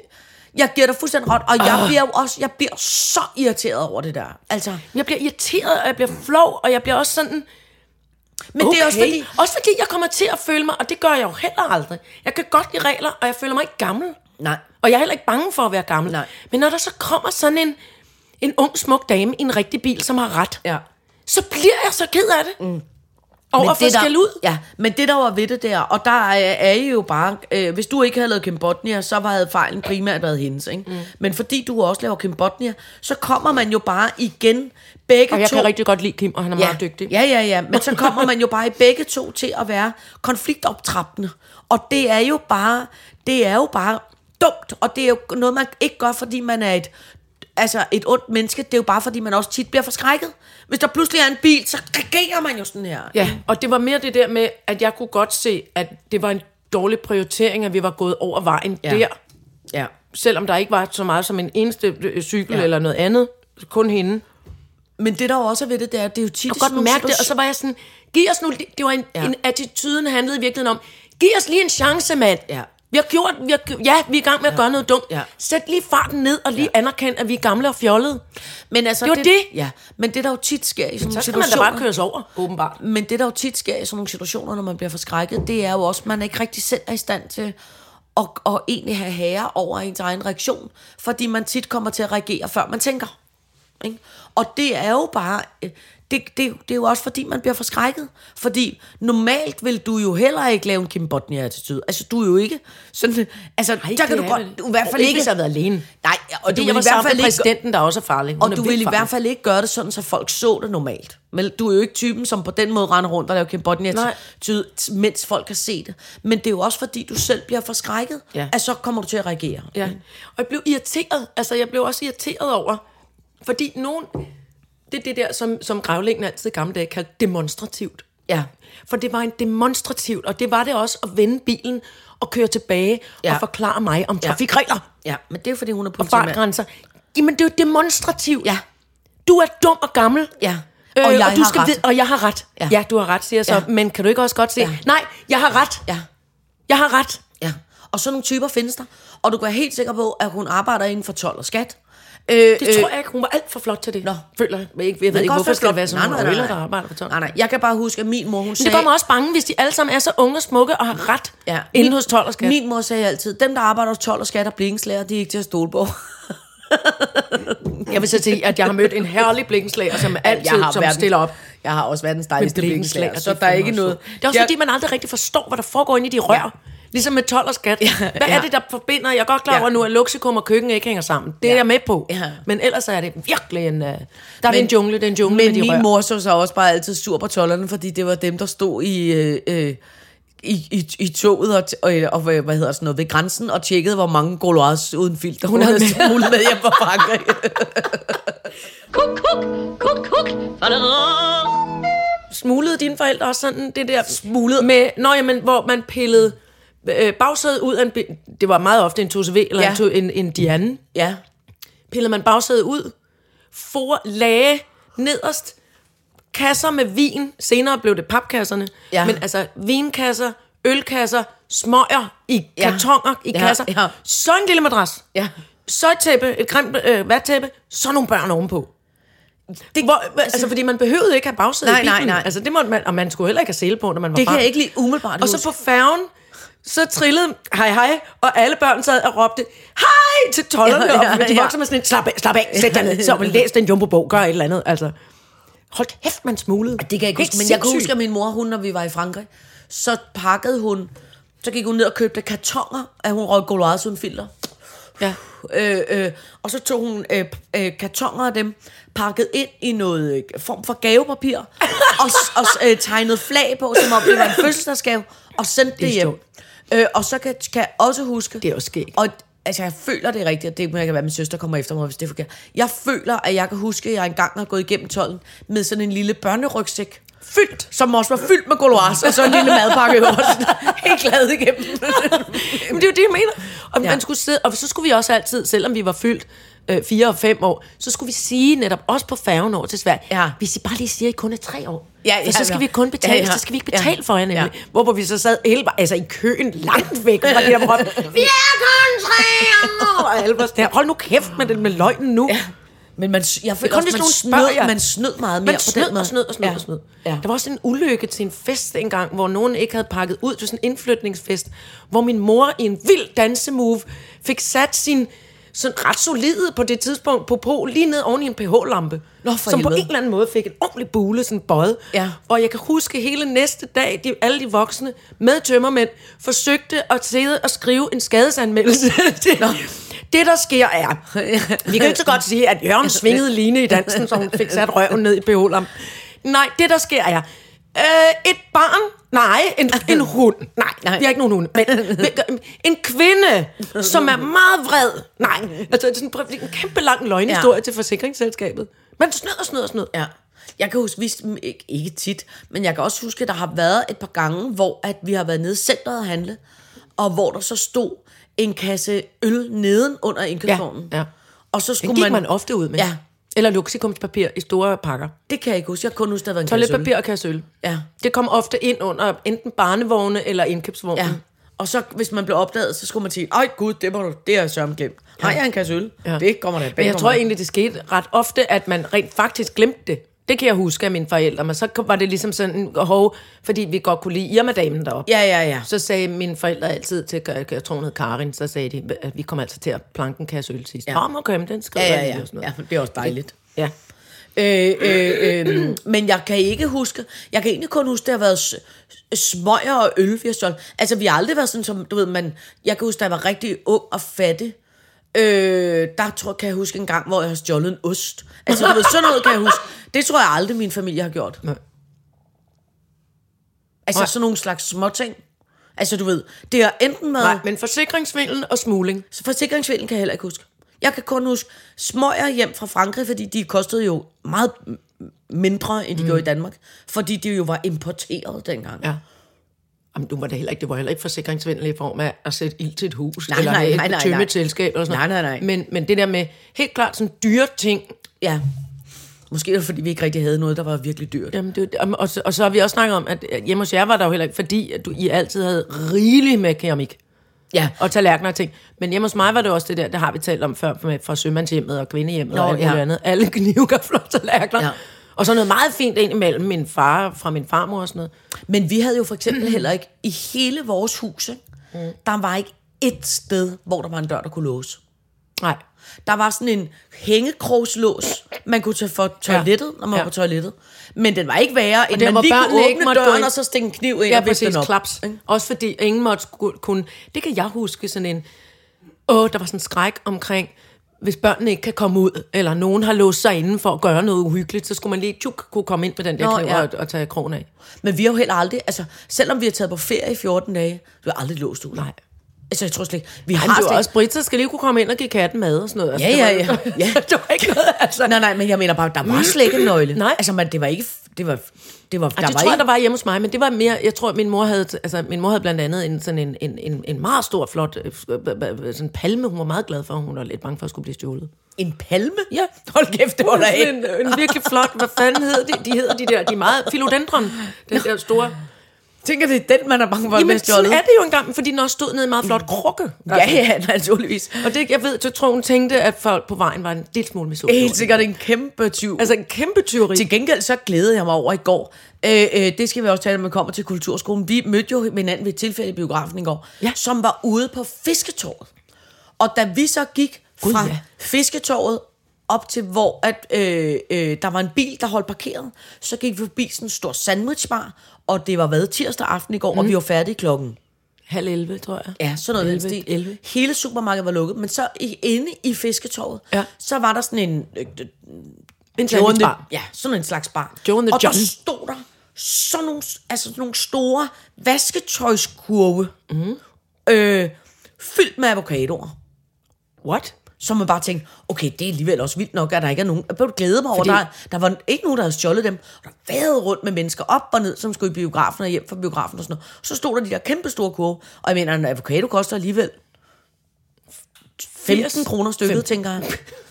Speaker 4: jeg giver dig fuldstændig ret, og
Speaker 3: Ah.
Speaker 4: jeg bliver jo også, jeg bliver så irriteret over det der. Altså,
Speaker 3: Jeg bliver irriteret, og jeg bliver flov, og jeg bliver også sådan...
Speaker 4: men det er også fordi,
Speaker 3: Også fordi jeg kommer til at føle mig, og det gør jeg jo heller aldrig. Jeg kan godt lide regler, og jeg føler mig ikke gammel.
Speaker 4: nej,
Speaker 3: Og jeg er heller ikke bange for at være gammel.
Speaker 4: Nej.
Speaker 3: Men når der så kommer sådan en, en ung, smuk dame i en rigtig bil, som har ret,
Speaker 4: ja.
Speaker 3: så bliver jeg så ked af det. Mm. Over for
Speaker 4: der,
Speaker 3: skal ud.
Speaker 4: Ja, men det der var ved det der, og der er, er I jo bare, øh, hvis du ikke havde lavet Kim Botnia, så havde fejlen primært været hendes, ikke? Mm. Men fordi du også laver Kim Botnia, så kommer man jo bare igen begge
Speaker 3: Og jeg
Speaker 4: to.
Speaker 3: kan rigtig godt lide Kim, og han er ja. meget dygtig.
Speaker 4: Ja, ja, ja. Men så kommer man jo bare i begge to til at være konfliktoptrappende. Og det er jo bare, det er jo bare dumt, og det er jo noget, man ikke gør, fordi man er et altså et ondt menneske, det er jo bare fordi, man også tit bliver forskrækket. Hvis der pludselig er en bil, så reagerer man jo sådan her.
Speaker 3: Ja, og det var mere det der med, at jeg kunne godt se, at det var en dårlig prioritering, at vi var gået over vejen ja. der.
Speaker 4: ja.
Speaker 3: Selvom der ikke var så meget som en eneste øh, cykel
Speaker 4: Ja.
Speaker 3: ja. eller noget andet. Kun hende.
Speaker 4: Men det der jo også er ved det, det er, det er jo tit...
Speaker 3: kunne godt mærke det, og så var jeg sådan, giv os nu, det det var en,
Speaker 4: Ja.
Speaker 3: ja. en attituden handlede i virkeligheden om, giv os lige en chance, mand.
Speaker 4: Ja.
Speaker 3: Vi har gjort, vi har, gj- ja, vi er i gang med at gøre noget dumt.
Speaker 4: Ja.
Speaker 3: Sæt lige farten ned og lige ja. anerkend, at vi er gamle og fjollede.
Speaker 4: Men altså,
Speaker 3: Det var det.
Speaker 4: Ja, men det der jo tit sker i sådan nogle
Speaker 3: Så skal man da bare
Speaker 4: situationer...
Speaker 3: køres over, åbenbart.
Speaker 4: Men det der jo tit sker i sådan nogle situationer, når man bliver forskrækket, det er jo også, at man ikke rigtig selv er i stand til at, at egentlig have herre over ens egen reaktion, fordi man tit kommer til at reagere, før man tænker. Ikke? Og det er jo bare... øh, Det, det, det er jo også fordi, man bliver forskrækket. Fordi normalt vil du jo heller ikke lave en Kim Botnia-attitude. Altså, du er jo ikke sådan... Altså, Ej, der
Speaker 3: det
Speaker 4: kan du
Speaker 3: er
Speaker 4: godt...
Speaker 3: det.
Speaker 4: Du er i hvert
Speaker 3: Og
Speaker 4: fald
Speaker 3: ikke,
Speaker 4: ikke...
Speaker 3: hvis jeg havde været alene.
Speaker 4: Nej, og
Speaker 3: Fordi jeg
Speaker 4: du vil
Speaker 3: var
Speaker 4: i hvert
Speaker 3: sammen
Speaker 4: fald
Speaker 3: med
Speaker 4: ikke...
Speaker 3: præsidenten, der også er farlig. Hun er
Speaker 4: Og du
Speaker 3: vildt
Speaker 4: vil i
Speaker 3: farlig.
Speaker 4: hvert fald ikke gøre det sådan, så folk så det normalt. Men du er jo ikke typen, som på den måde render rundt og laver Kim Botnia,
Speaker 3: Nej.
Speaker 4: mens folk kan se det. Men det er jo også fordi, du selv bliver forskrækket, ja.
Speaker 3: Ja.
Speaker 4: at så kommer du til at reagere.
Speaker 3: Ja. Og jeg blev irriteret. Altså, jeg blev også irriteret over, fordi nogen... Det er det der, som, som grævlingen altid i gamle dage kaldte demonstrativt.
Speaker 4: Ja.
Speaker 3: For det var en demonstrativt, og det var det også at vende bilen og køre tilbage
Speaker 4: Ja.
Speaker 3: ja. og forklare mig om trafikregler
Speaker 4: ja. men det er jo fordi, hun er
Speaker 3: og
Speaker 4: politimand.
Speaker 3: fartgrænser. Jamen, det er jo demonstrativt.
Speaker 4: Ja.
Speaker 3: Du er dum og gammel.
Speaker 4: Ja.
Speaker 3: Øh,
Speaker 4: Og
Speaker 3: og,
Speaker 4: jeg
Speaker 3: jeg og, du
Speaker 4: har
Speaker 3: skal
Speaker 4: ret.
Speaker 3: Vide, og jeg har ret.
Speaker 4: Ja.
Speaker 3: Ja. ja, du har ret, siger jeg så.
Speaker 4: Ja.
Speaker 3: Ja. Men kan du ikke også godt se?
Speaker 4: Ja.
Speaker 3: Ja. Nej, jeg har ret.
Speaker 4: Ja.
Speaker 3: Jeg har ret.
Speaker 4: Ja, og sådan nogle typer findes der. Og du kan være helt sikker på, at hun arbejder inden for 12 og skat. Øh,
Speaker 3: Det tror jeg ikke. Hun var alt for flot til det.
Speaker 4: Nå.
Speaker 3: Føler jeg. Jeg, ikke, jeg ved
Speaker 4: kan
Speaker 3: ikke,
Speaker 4: godt
Speaker 3: hvorfor skal
Speaker 4: forstå-
Speaker 3: det være sådan
Speaker 4: Nej,
Speaker 3: nogle
Speaker 4: nej, nej,
Speaker 3: øjler,
Speaker 4: nej.
Speaker 3: der arbejder på tolv.
Speaker 4: Nej, nej, jeg kan bare huske, at min mor, hun
Speaker 3: Men det
Speaker 4: sagde...
Speaker 3: gør mig også bange, hvis de alle sammen er så unge og smukke og har ret ja. inde
Speaker 4: min-
Speaker 3: hos tolv og skat.
Speaker 4: Min mor sagde altid, dem, der arbejder hos 12 og skat og blikkenslager, de er ikke til at stole på.
Speaker 3: [laughs] Jeg vil så sige, at jeg har mødt en herlig [laughs] blikkenslager, som altid som stiller op.
Speaker 4: Jeg har også været den
Speaker 3: Men
Speaker 4: dejligste
Speaker 3: blikkenslager,
Speaker 4: blikkenslager,
Speaker 3: det
Speaker 4: så der er
Speaker 3: fandme
Speaker 4: ikke
Speaker 3: også
Speaker 4: noget...
Speaker 3: sjovt. Det er også
Speaker 4: jeg,
Speaker 3: fordi, man aldrig rigtig forstår, hvad der foregår inde i de rør.
Speaker 4: Ja.
Speaker 3: Ligesom med tolv og skat. Hvad
Speaker 4: ja.
Speaker 3: er det, der forbinder? Jeg er godt klar over
Speaker 4: Ja.
Speaker 3: nu, at luksekum og køkken ikke hænger sammen. Det
Speaker 4: Ja.
Speaker 3: er jeg med på.
Speaker 4: Ja.
Speaker 3: Men ellers er det virkelig en... Uh, der er men, det en jungle, det er en jungle
Speaker 4: Men
Speaker 3: med de
Speaker 4: min
Speaker 3: rør.
Speaker 4: mor så sig også bare altid sur på tollerne, fordi det var dem, der stod i... Øh, øh, i, i, i toget og, t- og, og, hvad hvad hedder sådan noget, ved grænsen og tjekkede, hvor mange goloirs uden filter hun, hun havde
Speaker 3: havde med.
Speaker 4: smuglet med hjem fra
Speaker 3: [laughs]
Speaker 4: Frankrig.
Speaker 2: Kuk, kuk, kuk, kuk.
Speaker 3: smuglede dine forældre også sådan det der smuglet med, nå jamen, hvor man pillede øh, bagsædet ud af en, bi- det var meget ofte en 2CV eller
Speaker 4: Ja.
Speaker 3: ja. en, to- en, en Diane,
Speaker 4: ja.
Speaker 3: pillede man bagsædet ud, for lage nederst, kasser med vin, senere blev det papkasserne,
Speaker 4: Ja.
Speaker 3: ja. men altså vinkasser, ølkasser, smøger i
Speaker 4: Ja.
Speaker 3: kartonger, i
Speaker 4: Ja,
Speaker 3: kasser,
Speaker 4: ja.
Speaker 3: så en lille madras,
Speaker 4: Ja.
Speaker 3: så et tæppe, et grimt øh, vattæppe, så nogle børn ovenpå. Det, Hvor, altså, altså, fordi man behøvede ikke have bagsædet
Speaker 4: Nej,
Speaker 3: i bilen.
Speaker 4: nej, nej.
Speaker 3: Altså, det måtte man, og man skulle heller ikke have sele på, når man var
Speaker 4: Det kan
Speaker 3: barn.
Speaker 4: jeg ikke lige umiddelbart
Speaker 3: Og så på færgen, så trillede hej hej, og alle børn sad og råbte, hej til tollerne,
Speaker 4: Ja, ja,
Speaker 3: ja, ja, og de
Speaker 4: ja.
Speaker 3: voksne var sådan lidt, slap af, slap af, sæt dig ned, så læs den jumbo-bog, gør et eller andet, altså. Hold kæft, man smuglede.
Speaker 4: Det kan jeg ikke
Speaker 3: Helt
Speaker 4: huske, men jeg kan
Speaker 3: sindssygt.
Speaker 4: huske, at min mor, hun, når vi var i Frankrig, så pakkede hun, så gik hun ned og købte kartonger, at hun røg Goloirs uden filter.
Speaker 3: Ja.
Speaker 4: Øh, øh, og så tog hun øh, p- øh, kartonger af dem, pakket ind i noget øh, form for
Speaker 3: [laughs]
Speaker 4: gavepapir, og, s- og s- øh, tegnede flag på, som om det var
Speaker 3: [laughs]
Speaker 4: en fødselsdagsgave, og sendte det hjem.
Speaker 3: sjovt.
Speaker 4: Øh, og så kan, kan jeg også huske...
Speaker 3: Det er også skægt.
Speaker 4: Og altså, jeg føler det er rigtigt, og det må jeg være, at min søster kommer efter mig, hvis det er forkert. Jeg føler, at jeg kan huske, at jeg engang har gået igennem tolden med sådan en lille børnerygsæk. Fyldt, som også var fyldt med goloas, og så en lille
Speaker 3: [laughs]
Speaker 4: madpakke i øverst. [laughs] Helt glad igennem.
Speaker 3: Jamen, det er jo det, jeg mener. Og, ja.
Speaker 4: Ja.
Speaker 3: man skulle sidde, og så skulle vi også altid, selvom vi var fyldt øh, 4 og 5 år, så skulle vi sige netop, også på færgen over til Sverige,
Speaker 4: Ja.
Speaker 3: hvis I bare lige siger, at I kun er 3 år,
Speaker 4: Ja, ja,
Speaker 3: for så skal
Speaker 4: ja.
Speaker 3: vi kun betale,
Speaker 4: Ja, ja.
Speaker 3: så skal vi ikke betale
Speaker 4: Ja.
Speaker 3: for jer nemlig.
Speaker 4: Ja.
Speaker 3: Hvorpå vi så sad hele, vejen- altså i køen langt væk fra det der
Speaker 4: [laughs]
Speaker 3: brød. Vi er kun 3 år! Og alle var sådan der, hold nu kæft med den med løgnen nu. Ja.
Speaker 4: Men man, jeg føler
Speaker 3: kun
Speaker 4: også,
Speaker 3: hvis
Speaker 4: man
Speaker 3: nogen spørger
Speaker 4: snød,
Speaker 3: jer.
Speaker 4: man snød meget mere
Speaker 3: Man
Speaker 4: på
Speaker 3: snød
Speaker 4: den måde.
Speaker 3: og snød og snød ja. og snød. Ja. Der var også en ulykke til en fest engang, hvor nogen ikke havde pakket ud til sådan en indflytningsfest, hvor min mor i en vild dansemove fik sat sin sådan ret solide på det tidspunkt på på lige ned oven i en pH-lampe.
Speaker 4: Nå, for
Speaker 3: som på
Speaker 4: helvede.
Speaker 3: en eller anden måde fik en ordentlig bule, sådan bøjet.
Speaker 4: Ja.
Speaker 3: Og jeg kan huske hele næste dag, de, alle de voksne med tømmermænd forsøgte at sidde og skrive en skadesanmeldelse. det, det, der sker er, vi kan jo ikke så godt sige, at Jørgen svingede Line i dansen, så hun fik sat røven ned i beholderen. Nej, det der sker er, øh, et barn, nej, en, en hund, nej, nej, vi har ikke nogen hunde, men men- en kvinde, som er meget vred, nej, altså det er sådan en- en kæmpe lang løgnhistorie ja.
Speaker 4: Ja.
Speaker 3: til forsikringsselskabet. Man snød og snød og snød.
Speaker 4: Ja. Jeg kan huske, vi, ikke, ikke tit, men jeg kan også huske, at der har været et par gange, hvor at vi har været nede i centret og handle, og hvor der så stod en kasse øl neden under indkøbsvognen.
Speaker 3: Ja, ja.
Speaker 4: Og så
Speaker 3: Det
Speaker 4: skulle
Speaker 3: gik man,
Speaker 4: man,
Speaker 3: man ofte ud med.
Speaker 4: Ja.
Speaker 3: Eller luksikumspapir i store pakker.
Speaker 4: Det kan jeg ikke huske. Jeg kan kun huske, der har været en kasse øl.
Speaker 3: Toiletpapir og kasseøl.
Speaker 4: Ja.
Speaker 3: Det kom ofte ind under enten barnevogne eller indkøbsvogne.
Speaker 4: Ja. Og så, hvis man blev opdaget, så skulle man sige, ej gud, det, må du, det er Søren glemt. Har jeg en kasse øl? Ja. Det kommer da bag
Speaker 3: Men jeg
Speaker 4: på
Speaker 3: tror
Speaker 4: mig."
Speaker 3: egentlig, det skete ret ofte, at man rent faktisk glemte det. Det kan jeg huske af mine forældre, men så kom- var det ligesom sådan, hov, fordi vi godt kunne lide Irma-damen deroppe.
Speaker 4: Ja, ja, ja.
Speaker 3: Så sagde mine forældre altid til, jeg jeg tror hun hed Karin, så sagde de, at vi kom altså til at planke en kasse øl sidst. Ja. Kom og køm, den skriver
Speaker 4: Ja, ja,
Speaker 3: jeg lige,"
Speaker 4: ja.
Speaker 3: og sådan
Speaker 4: ja
Speaker 3: noget.
Speaker 4: men det er også dejligt.
Speaker 3: ja.
Speaker 4: Øh, øh, øh, men jeg kan ikke huske, jeg kan egentlig kun huske, det har været s- smøger og øl, vi har solgt. Altså, vi har aldrig været sådan som, du ved, man, jeg kan huske, da jeg var rigtig ung og fattig, øh, der tror, kan jeg huske en gang, hvor jeg har stjålet en ost. Altså, du ved, sådan noget kan jeg huske. Det tror jeg aldrig, min familie har gjort.
Speaker 3: Nej.
Speaker 4: Altså,
Speaker 3: Nej.
Speaker 4: sådan nogle slags småting. Altså, du ved, det er enten med...
Speaker 3: Nej, men forsikringsvindel og smugling.
Speaker 4: Så forsikringsvindel kan jeg heller ikke huske. Jeg kan kun huske smøger hjem fra Frankrig, fordi de kostede jo meget m- mindre, end de mm. gjorde i Danmark. Fordi de jo var importeret dengang.
Speaker 3: Ja. Jamen, du var det heller ikke, det var heller ikke forsikringsvindel i form af at sætte ild til et hus,
Speaker 4: Nej,
Speaker 3: eller
Speaker 4: nej,
Speaker 3: et
Speaker 4: nej, nej,
Speaker 3: tømme
Speaker 4: nej.
Speaker 3: et selskab eller sådan
Speaker 4: Nej,
Speaker 3: noget.
Speaker 4: nej, nej.
Speaker 3: Men, men det der med helt klart sådan dyre ting,
Speaker 4: ja. Måske er det, fordi vi ikke rigtig havde noget, der var virkelig dyrt.
Speaker 3: Jamen, det, er jo det. Jamen, og, så, og så har vi også snakket om, at øh, hjemme hos jer var der jo heller ikke, fordi at du, I altid havde rigeligt med keramik
Speaker 4: Ja.
Speaker 3: og tallerkener og ting. Men hjemme hos mig var det også det der, det har vi talt om før, med, fra sømandshjemmet og kvindehjemmet Nå,
Speaker 4: Nå,
Speaker 3: og alt muligt
Speaker 4: ja.
Speaker 3: andet. Alle knive, [laughs] gafler og tallerkener. Ja.
Speaker 4: Ja.
Speaker 3: Og så noget meget fint ind imellem min far fra min farmor og sådan noget.
Speaker 4: Men vi havde jo for eksempel heller ikke, i hele vores hus, ikke?
Speaker 3: Mm.
Speaker 4: der var ikke et sted, hvor der var en dør, der kunne låse.
Speaker 3: Nej.
Speaker 4: Der var sådan en hængekrogslås, man kunne tage for toilettet, ja. når man
Speaker 3: Ja.
Speaker 4: ja. var på toilettet. Men den var ikke værre, end
Speaker 3: der, hvor
Speaker 4: man lige
Speaker 3: børnene
Speaker 4: kunne
Speaker 3: ikke
Speaker 4: åbne
Speaker 3: måtte gå
Speaker 4: døren,
Speaker 3: ind.
Speaker 4: og så stikke en kniv ind
Speaker 3: Ja,
Speaker 4: og vippe
Speaker 3: præcis.
Speaker 4: den op.
Speaker 3: Klaps. Også fordi ingen måtte sku- kunne... Det kan jeg huske sådan en... Åh, der var sådan en skræk omkring, hvis børnene ikke kan komme ud, eller nogen har låst sig inden for at gøre noget uhyggeligt, så skulle man lige tjuk, kunne komme ind med den der
Speaker 4: Nå,
Speaker 3: kniv
Speaker 4: ja.
Speaker 3: og, og tage krogen af.
Speaker 4: Men vi har jo heller aldrig, altså selvom vi har taget på ferie i 14 dage, så har vi aldrig låst ud.
Speaker 3: Nej.
Speaker 4: Altså jeg tror slet ikke, vi
Speaker 3: Ej,
Speaker 4: har
Speaker 3: men det
Speaker 4: slet
Speaker 3: var også briter, skal lige kunne komme ind og give katten mad og sådan noget. Altså,
Speaker 4: Ja, ja,
Speaker 3: det var-
Speaker 4: ja.
Speaker 3: [laughs]
Speaker 4: ja.
Speaker 3: det var ikke
Speaker 4: [laughs]
Speaker 3: noget, altså.
Speaker 4: Nej, nej, men jeg mener bare, der var slet ikke en nøgle.
Speaker 3: Nej.
Speaker 4: Altså man, det var ikke, det var, det var, der
Speaker 3: Ej, Altså, det
Speaker 4: var
Speaker 3: tror jeg,
Speaker 4: ikke,
Speaker 3: der var hjemme hos mig, men det var mere, jeg tror, min mor havde, altså, min mor havde blandt andet en, sådan en, en, en, en meget stor, flot øh, f- øh, øh, sådan palme, hun var meget glad for, hun var lidt bange for at skulle blive stjålet.
Speaker 4: en palme.
Speaker 3: Ja.
Speaker 4: Hold kæft, det var der
Speaker 3: Sådan
Speaker 4: ikke.
Speaker 3: en, en virkelig flot, hvad fanden hed de? De hedder de der, de er meget, philodendron, den der store.
Speaker 4: Tænker det er den, man er bange for at blive
Speaker 3: Jamen, sådan
Speaker 4: stjålet?
Speaker 3: er det jo engang, fordi den også stod nede i en meget flot krukke. Altså.
Speaker 4: Ja, ja, naturligvis.
Speaker 3: Og det, jeg ved, så tror hun tænkte, at folk på vejen var en lille smule misundelig.
Speaker 4: Helt sikkert en kæmpe tyv.
Speaker 3: Altså en kæmpe tyveri.
Speaker 4: Til gengæld så glædede jeg mig over i går. Øh, øh, det skal vi også tale om, når vi kommer til Kulturskolen. Vi mødte jo hinanden ved et tilfælde i biografen i går,
Speaker 3: Ja.
Speaker 4: som var ude på Fisketorvet. Og da vi så gik
Speaker 3: Gud,
Speaker 4: Gud, fra
Speaker 3: ja.
Speaker 4: ja. Fisketorvet op til, hvor at, øh, øh, der var en bil, der holdt parkeret,
Speaker 3: Mhm.
Speaker 4: så gik vi forbi sådan en stor sandwichbar, og det var været tirsdag aften i går, mm. og vi var færdige klokken
Speaker 3: halv 11, tror jeg.
Speaker 4: Ja, sådan noget
Speaker 3: 11,
Speaker 4: i den stil.
Speaker 3: 11.
Speaker 4: Hele supermarkedet var lukket, men så i, inde i fisketorvet,
Speaker 3: Ja.
Speaker 4: så var der sådan en... Øh,
Speaker 3: En
Speaker 4: øh, Joe and the-
Speaker 3: sandwichbar.
Speaker 4: Ja, sådan en slags bar.
Speaker 3: Joe and the
Speaker 4: og
Speaker 3: John.
Speaker 4: der stod der sådan nogle, altså sådan nogle store vasketøjskurve,
Speaker 3: Mhm.
Speaker 4: mm. øh, fyldt med avocadoer.
Speaker 3: What?
Speaker 4: Så man bare tænkte, okay, det er alligevel også vildt nok, at der ikke er nogen... Jeg blev glæde mig over,
Speaker 3: Fordi-
Speaker 4: der, der var ikke nogen, der havde stjålet dem. Og der vejede rundt med mennesker op og ned, som skulle i biografen og hjem fra biografen og sådan noget. Så stod der de der kæmpe store kurve, og jeg mener, en avocado koster alligevel 15 kroner stykket, tænker jeg.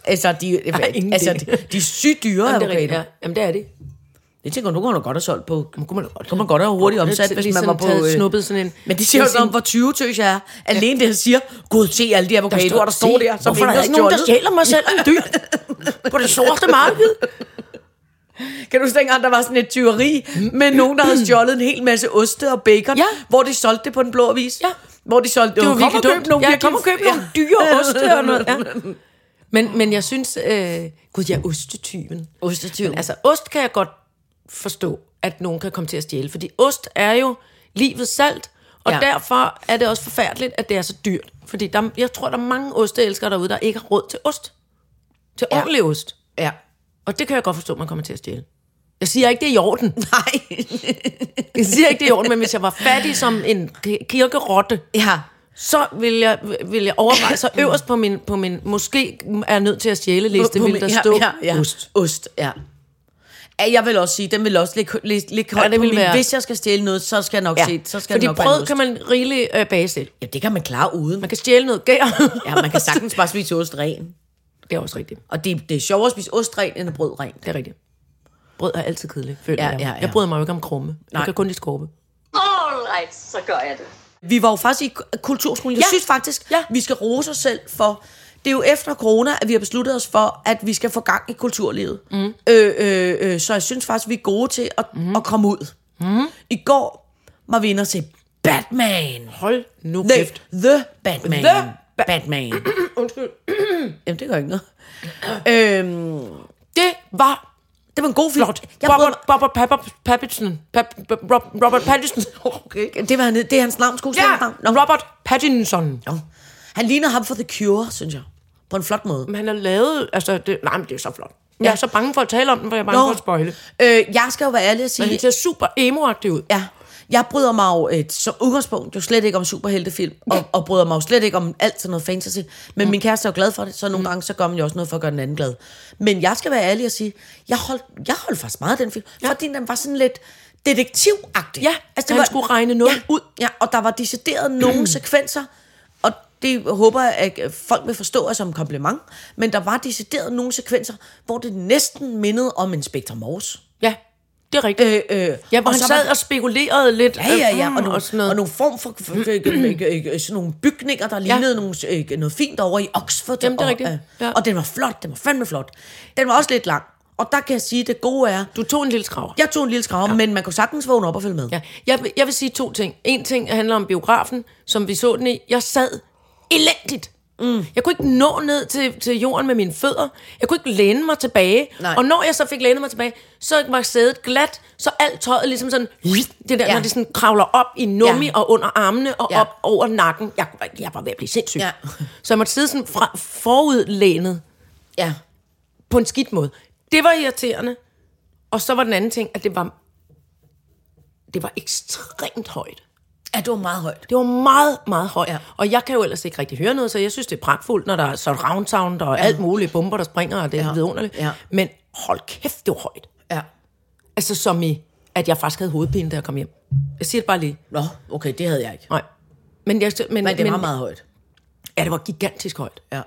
Speaker 4: Altså, de,
Speaker 3: ingen
Speaker 4: altså,
Speaker 3: idé.
Speaker 4: de, de er sygt dyre
Speaker 3: Jamen, det er rigtigt, ja.
Speaker 4: avocadoer.
Speaker 3: Jamen, det er det.
Speaker 4: Det tænker du kunne man da godt have solgt på.
Speaker 3: Man kunne man da godt.
Speaker 4: Kunne man godt have hurtigt
Speaker 3: Godt,
Speaker 4: omsat,
Speaker 3: lidt
Speaker 4: hvis man
Speaker 3: ligesom
Speaker 4: var på... øh,
Speaker 3: taget- snuppet sådan en-
Speaker 4: Men det siger jo
Speaker 3: en
Speaker 4: ikke noget om,
Speaker 3: sin-
Speaker 4: hvor 20 tøs jeg er. Alene det, jeg siger, gud, se alle de avocadoer, der står der. som
Speaker 3: Hvorfor er der
Speaker 4: ingen har
Speaker 3: ikke nogen, der
Speaker 4: stjålet?"
Speaker 3: stjæler [laughs] mig selv en dyr? på det sorte marked?
Speaker 4: Kan du huske dengang, der var sådan et tyveri med nogen, der havde stjålet en hel masse oste og bacon,
Speaker 3: Mm. Ja.
Speaker 4: hvor de solgte det på den blå avis?
Speaker 3: Ja.
Speaker 4: Hvor de solgte
Speaker 3: Det var
Speaker 4: "Kom og
Speaker 3: virkelig
Speaker 4: køb
Speaker 3: dumt.
Speaker 4: nogle
Speaker 3: Ja,
Speaker 4: virkelig-
Speaker 3: kom og køb nogle
Speaker 4: [laughs]
Speaker 3: dyre oste og noget. Ja. Men, men jeg synes... Øh, gud, jeg er ostetyven.
Speaker 4: Ostetyven.
Speaker 3: Men altså, ost kan jeg godt forstå, at nogen kan komme til at stjæle. Fordi ost er jo livets salt, og
Speaker 4: Ja.
Speaker 3: ja. derfor er det også forfærdeligt, at det er så dyrt. Fordi der, jeg tror, der er mange osteelskere derude, der ikke har råd til ost. Til ja. ordentlig ost.
Speaker 4: Ja.
Speaker 3: Og det kan jeg godt forstå, at man kommer til at stjæle. Jeg siger ikke, det er i orden.
Speaker 4: Nej.
Speaker 3: Jeg siger ikke, det er i orden, men hvis jeg var fattig som en ki- kirkerotte,
Speaker 4: Ja.
Speaker 3: så vil jeg, vil jeg overveje, så øverst på min, på min måske er jeg nødt til at stjæle liste,
Speaker 4: På
Speaker 3: vil
Speaker 4: min-
Speaker 3: der stå
Speaker 4: ja, ja, ja.
Speaker 3: ost.
Speaker 4: Ost, ja. Ja, Jeg vil også sige, den vil også ligge, ligge, ligge højt
Speaker 3: det
Speaker 4: på
Speaker 3: vil
Speaker 4: min-
Speaker 3: være-
Speaker 4: Hvis jeg skal stjæle noget, så skal jeg nok se, så skal
Speaker 3: Fordi
Speaker 4: jeg nok være en
Speaker 3: brød
Speaker 4: ost.
Speaker 3: kan man rigeligt øh, bage selv.
Speaker 4: Ja, det kan man klare uden.
Speaker 3: Man kan stjæle noget gær.
Speaker 4: [laughs] Ja, man kan sagtens bare spise ost ren.
Speaker 3: Det er også rigtigt.
Speaker 4: Og det, det er sjovere at spise ost ren, end brød rent.
Speaker 3: Det er rigtigt. Brød er altid kedeligt, føler
Speaker 4: Ja,
Speaker 3: jeg.
Speaker 4: ja, ja.
Speaker 3: Jeg bryder mig jo ikke om krumme. Nej. Jeg kan kun lide skorpe.
Speaker 2: Alright, så gør jeg det.
Speaker 4: Vi var jo faktisk i k- kulturskolen. Jeg
Speaker 3: Ja.
Speaker 4: ja. synes faktisk,
Speaker 3: Ja.
Speaker 4: ja. vi skal rose os selv for... Det er jo efter corona, at vi har besluttet os for, at vi skal få gang i kulturlivet. Mm. Øh, øh, øh, så jeg synes faktisk, vi er gode til at, mm. at komme ud. Mm. I går var vi inde og se Batman.
Speaker 3: Hold nu
Speaker 4: Nej,
Speaker 3: kæft.
Speaker 4: The Batman.
Speaker 3: The
Speaker 4: ba- Batman. Undskyld. Jamen, det gør ikke noget. øhm,
Speaker 3: Det var
Speaker 4: det var en god film. Flot. Jeg brød,
Speaker 3: Robert, Robert Pap- Pattinson. Pap- Rob- Robert Pattinson. [laughs] Okay.
Speaker 4: det, var, han- det er hans navn, skuespiller.
Speaker 3: Ja, Robert Pattinson.
Speaker 4: Han ligner ham for The Cure, synes jeg. På en flot måde.
Speaker 3: Men han har lavet, altså, det, nej, men det er så flot. Jeg er så bange for at tale om den, for jeg er bange
Speaker 4: Nå.
Speaker 3: for at spoile.
Speaker 4: Øh, jeg skal jo være ærlig og sige,
Speaker 3: Men han ser super emo ud.
Speaker 4: Ja. Jeg bryder mig jo et, som udgangspunkt jo slet ikke om superheltefilm, og, og bryder mig jo slet ikke om alt sådan noget fantasy. Men mm. min kæreste er jo glad for det, så
Speaker 3: Mm.
Speaker 4: nogle gange så gør man jo også noget for at gøre den anden glad. Men jeg skal være ærlig og sige, jeg holdt, jeg holdt faktisk meget af den film, ja. fordi den var sådan lidt detektivagtig. Altså,
Speaker 3: Ja, han skulle regne noget
Speaker 4: ja, ud. Ja, og der var decideret nogle
Speaker 3: [clears throat]
Speaker 4: sekvenser, og det håber jeg, at folk vil forstå os som en kompliment, men der var decideret nogle sekvenser, hvor det næsten mindede om Inspector Morse.
Speaker 3: Ja, det er rigtigt.
Speaker 4: Øh, øh,
Speaker 3: ja, hvor
Speaker 4: og
Speaker 3: han
Speaker 4: så var-
Speaker 3: sad og spekulerede lidt.
Speaker 4: Ja, ja, ja.
Speaker 3: øh,
Speaker 4: Og nogle, og
Speaker 3: sådan noget.
Speaker 4: og nogle form for, for, for,
Speaker 3: [clears throat]
Speaker 4: for, for sådan nogle bygninger, der lignede nogle, øh, noget fint over i Oxford.
Speaker 3: Jamen, det er
Speaker 4: og,
Speaker 3: rigtigt.
Speaker 4: øh,
Speaker 3: Ja.
Speaker 4: Og den var flot, den var fandme flot. Den var også lidt lang. Og der kan jeg sige, at det gode er,
Speaker 3: Du tog en lille skraver.
Speaker 4: jeg tog en lille skrav, ja. men man kunne sagtens vågne op og følge med.
Speaker 3: Ja. Jeg, vil- jeg vil sige to ting. En ting handler om biografen, som vi så den i. Jeg sad elendigt. Mm. Jeg kunne ikke nå ned til, til jorden med mine fødder. Jeg kunne ikke læne mig tilbage.
Speaker 4: Nej.
Speaker 3: Og når jeg så fik lænet mig tilbage, så var sædet glat, så alt tøjet ligesom sådan... Det der, ja.
Speaker 4: Ja.
Speaker 3: når det sådan kravler op i nummi ja.
Speaker 4: Ja.
Speaker 3: og under armene og ja.
Speaker 4: Ja.
Speaker 3: op over nakken. Jeg, jeg var ved at blive sindssyg.
Speaker 4: Ja.
Speaker 3: Så jeg måtte sidde sådan fra, forudlænet
Speaker 4: ja.
Speaker 3: på en skidt måde. Det var irriterende. Og så var den anden ting, at det var, det var ekstremt højt.
Speaker 4: Ja, det var meget højt.
Speaker 3: Det var meget, meget højt. Ja.
Speaker 4: Ja.
Speaker 3: Og jeg kan jo ellers ikke rigtig høre noget, så jeg synes, det er pragtfuldt, når der er surround sound og alt muligt bomber, der springer, og det er ja.
Speaker 4: Ja.
Speaker 3: vidunderligt.
Speaker 4: Ja.
Speaker 3: Men hold kæft, det var højt.
Speaker 4: Ja.
Speaker 3: Altså som i, at jeg faktisk havde hovedpine, da jeg kom hjem. Jeg siger det bare lige.
Speaker 4: Nå, okay, det havde jeg ikke.
Speaker 3: Nej. Men, jeg, men,
Speaker 4: Men det var meget højt.
Speaker 3: Ja, det var gigantisk højt.
Speaker 4: Ja.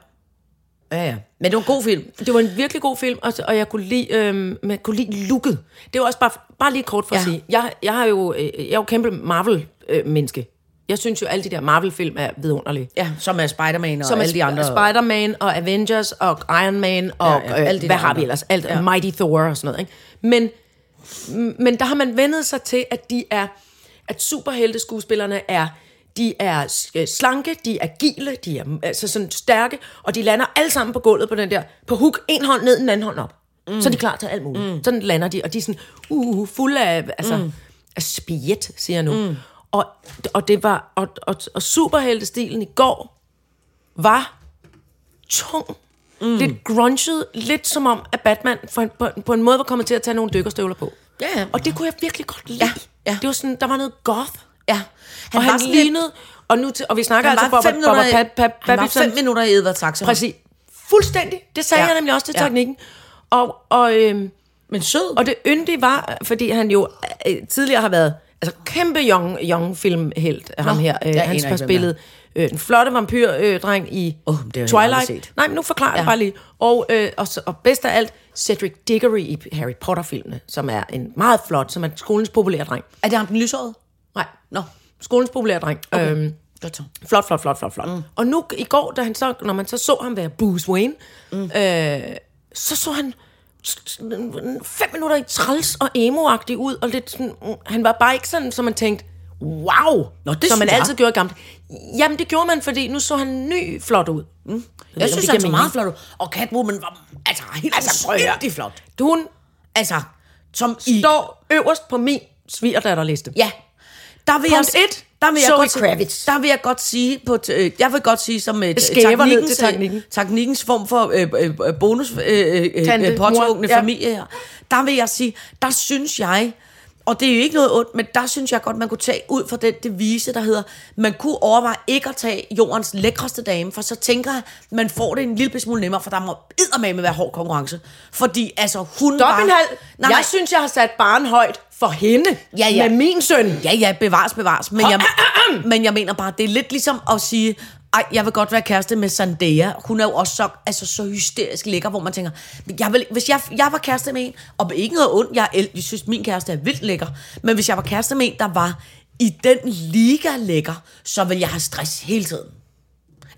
Speaker 4: Ja, ja. Men det var en god film.
Speaker 3: Det var en virkelig god film, og, og jeg kunne lide, øhm, man kunne lide looket. Det var også bare, bare lige kort for ja. at
Speaker 4: Ja.
Speaker 3: sige, jeg, jeg, har jo, øh, jeg er jo kæmpe Marvel-menneske. jeg synes jo, alle de der Marvel-film er vidunderlige.
Speaker 4: Ja, som er Spider-Man og
Speaker 3: Som er
Speaker 4: alle de andre.
Speaker 3: Spider-Man og Avengers og Iron Man og ja,
Speaker 4: ja,
Speaker 3: ja, øh,
Speaker 4: alle de
Speaker 3: hvad
Speaker 4: der
Speaker 3: har vi
Speaker 4: andre.
Speaker 3: ellers? Alt, ja. Mighty Thor og sådan noget. Ikke? Men, m- men der har man vendet sig til, at de er, at superhelteskuespillerne er de er s- øh, slanke, de er agile, de er mm, altså sådan stærke, og de lander alle sammen på gulvet på den der, på hook, en hånd ned, den anden hånd op. Mm. Så er de klar til alt muligt. Mm. Sådan lander de, og de er sådan, uh, fulde af, altså, mm. af spjet, siger jeg nu. Mm. Og, og det var, og, og, og superheltestilen i går var tung. Mm. Lidt grunchet, lidt som om, at Batman for en, på, på en måde var kommet til at tage nogle dykkerstøvler på.
Speaker 4: Ja, ja.
Speaker 3: Og det kunne jeg virkelig godt lide.
Speaker 4: Ja, ja.
Speaker 3: Det var sådan, der var noget goth.
Speaker 4: Ja.
Speaker 3: Han og
Speaker 4: var
Speaker 3: han
Speaker 4: sådan lidt-
Speaker 3: lignede, og, nu til, og vi snakker
Speaker 4: han
Speaker 3: altså
Speaker 4: var
Speaker 3: Bobber,
Speaker 4: fem minutter,
Speaker 3: Bobber
Speaker 4: i-
Speaker 3: Pat, Pat,
Speaker 4: han var fem minutter i Edvard Taxa.
Speaker 3: Præcis. Fuldstændig. Det sagde
Speaker 4: Ja.
Speaker 3: ja. jeg nemlig også til
Speaker 4: Ja.
Speaker 3: teknikken. Og, og, øhm,
Speaker 4: Men sød.
Speaker 3: og det yndige var, fordi han jo øh, tidligere har været altså kæmpe young, young filmhelt ham
Speaker 4: Nå,
Speaker 3: her. Øh,
Speaker 4: jeg
Speaker 3: han
Speaker 4: aner
Speaker 3: har
Speaker 4: ikke, hvem det er.
Speaker 3: spillet øh, den flotte vampyrdreng øh, dreng i
Speaker 4: Åh,
Speaker 3: oh,
Speaker 4: det har jeg aldrig
Speaker 3: Twilight.
Speaker 4: set.
Speaker 3: Nej, men nu forklarer jeg
Speaker 4: Ja.
Speaker 3: bare lige. Og, øh, og, så- og bedst af alt, Cedric Diggory i Harry Potter-filmene, som er en meget flot, som er skolens populære dreng.
Speaker 4: er det ham den lyshårede?
Speaker 3: Nej,
Speaker 4: Nå,
Speaker 3: skolens populære dreng. Okay. Øhm,
Speaker 4: godt så.
Speaker 3: Flot, flot, flot, flot, flot. Mm. Og nu i går, da han så, når man så så ham være Bruce Wayne, mm. øh, så så han s- s- fem minutter i træls og emo ud, og lidt sådan, mm, han var bare ikke sådan, som man tænkte, wow,
Speaker 4: Nå, det
Speaker 3: som man
Speaker 4: synes jeg.
Speaker 3: altid gjorde i gammelt. Jamen, det gjorde man, fordi nu så han ny flot ud. Mm.
Speaker 4: Jeg, jeg synes, han så meget flot ud. Og Catwoman var altså, helt altså,
Speaker 3: prøv at høre.
Speaker 4: sindssygt flot.
Speaker 3: Hun
Speaker 4: Altså, som i...
Speaker 3: står øverst på min svigerdatterliste.
Speaker 4: Ja. Der vil
Speaker 3: Punkt
Speaker 4: jeg,
Speaker 3: et,
Speaker 4: der vil jeg
Speaker 3: Zoe
Speaker 4: godt,
Speaker 3: Kravitz.
Speaker 4: Der vil jeg godt sige, på, t- øh, jeg vil godt sige som øh,
Speaker 3: skæver ned til
Speaker 4: teknikkens, øh,
Speaker 3: teknikken.
Speaker 4: teknikkens form for øh, øh, bonus øh, øh,
Speaker 3: Tante,
Speaker 4: øh, påtvungne
Speaker 3: mor, ja.
Speaker 4: familie her. Der vil jeg sige, der synes jeg, og det er jo ikke noget ondt, men der synes jeg godt, man kunne tage ud fra den devise, der hedder, man kunne overveje ikke at tage jordens lækreste dame, for så tænker jeg, man får det en lille smule nemmere, for der må eddermame være hård konkurrence. Fordi altså, hun var...
Speaker 3: Stop en halv. jeg
Speaker 4: Nej, nej.
Speaker 3: synes, jeg har sat barn højt for hende
Speaker 4: Ja, ja.
Speaker 3: med min søn.
Speaker 4: Ja, ja, bevares, bevares. Men jeg,
Speaker 3: [coughs]
Speaker 4: men jeg mener bare, det er lidt ligesom at sige, ej, jeg vil godt være kæreste med Sandea. Hun er jo også så, altså, så hysterisk lækker, hvor man tænker, "Men jeg vil, hvis jeg, jeg var kæreste med en, og ikke noget ondt, jeg, el- jeg synes, min kæreste er vildt lækker, men hvis jeg var kæreste med en, der var i den liga lækker, så ville jeg have stress hele tiden.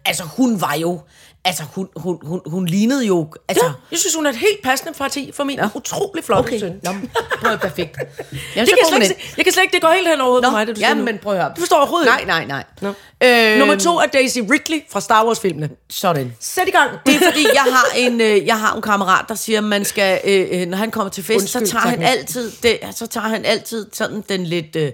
Speaker 4: Altså, hun var jo... Altså, hun, hun, hun, hun lignede jo... Altså,
Speaker 3: Ja, jeg synes, hun er et helt passende parti for min ja. utrolig flotte okay. søn.
Speaker 4: Nå, men prøv at
Speaker 3: [laughs]
Speaker 4: perfekt. Jamen,
Speaker 3: Jeg kan, jeg slet ikke, se- jeg kan slet ikke, det går helt hen over hovedet på mig, det du siger
Speaker 4: jamen,
Speaker 3: nu.
Speaker 4: men prøv at høre.
Speaker 3: Du forstår overhovedet
Speaker 4: Nej,
Speaker 3: ikke.
Speaker 4: nej, nej.
Speaker 3: Nå.
Speaker 4: Øh,
Speaker 3: Nummer to er Daisy Ridley fra Star Wars-filmene.
Speaker 4: Sådan.
Speaker 3: Sæt i gang.
Speaker 4: Det er fordi, jeg
Speaker 3: [laughs]
Speaker 4: har en, øh, jeg har en kammerat, der siger, at man skal, øh, øh, når han kommer til fest, Undskyld,
Speaker 3: Undskyld,
Speaker 4: så tager han
Speaker 3: tak, Nick.
Speaker 4: altid, det, så tager han altid sådan den lidt, øh,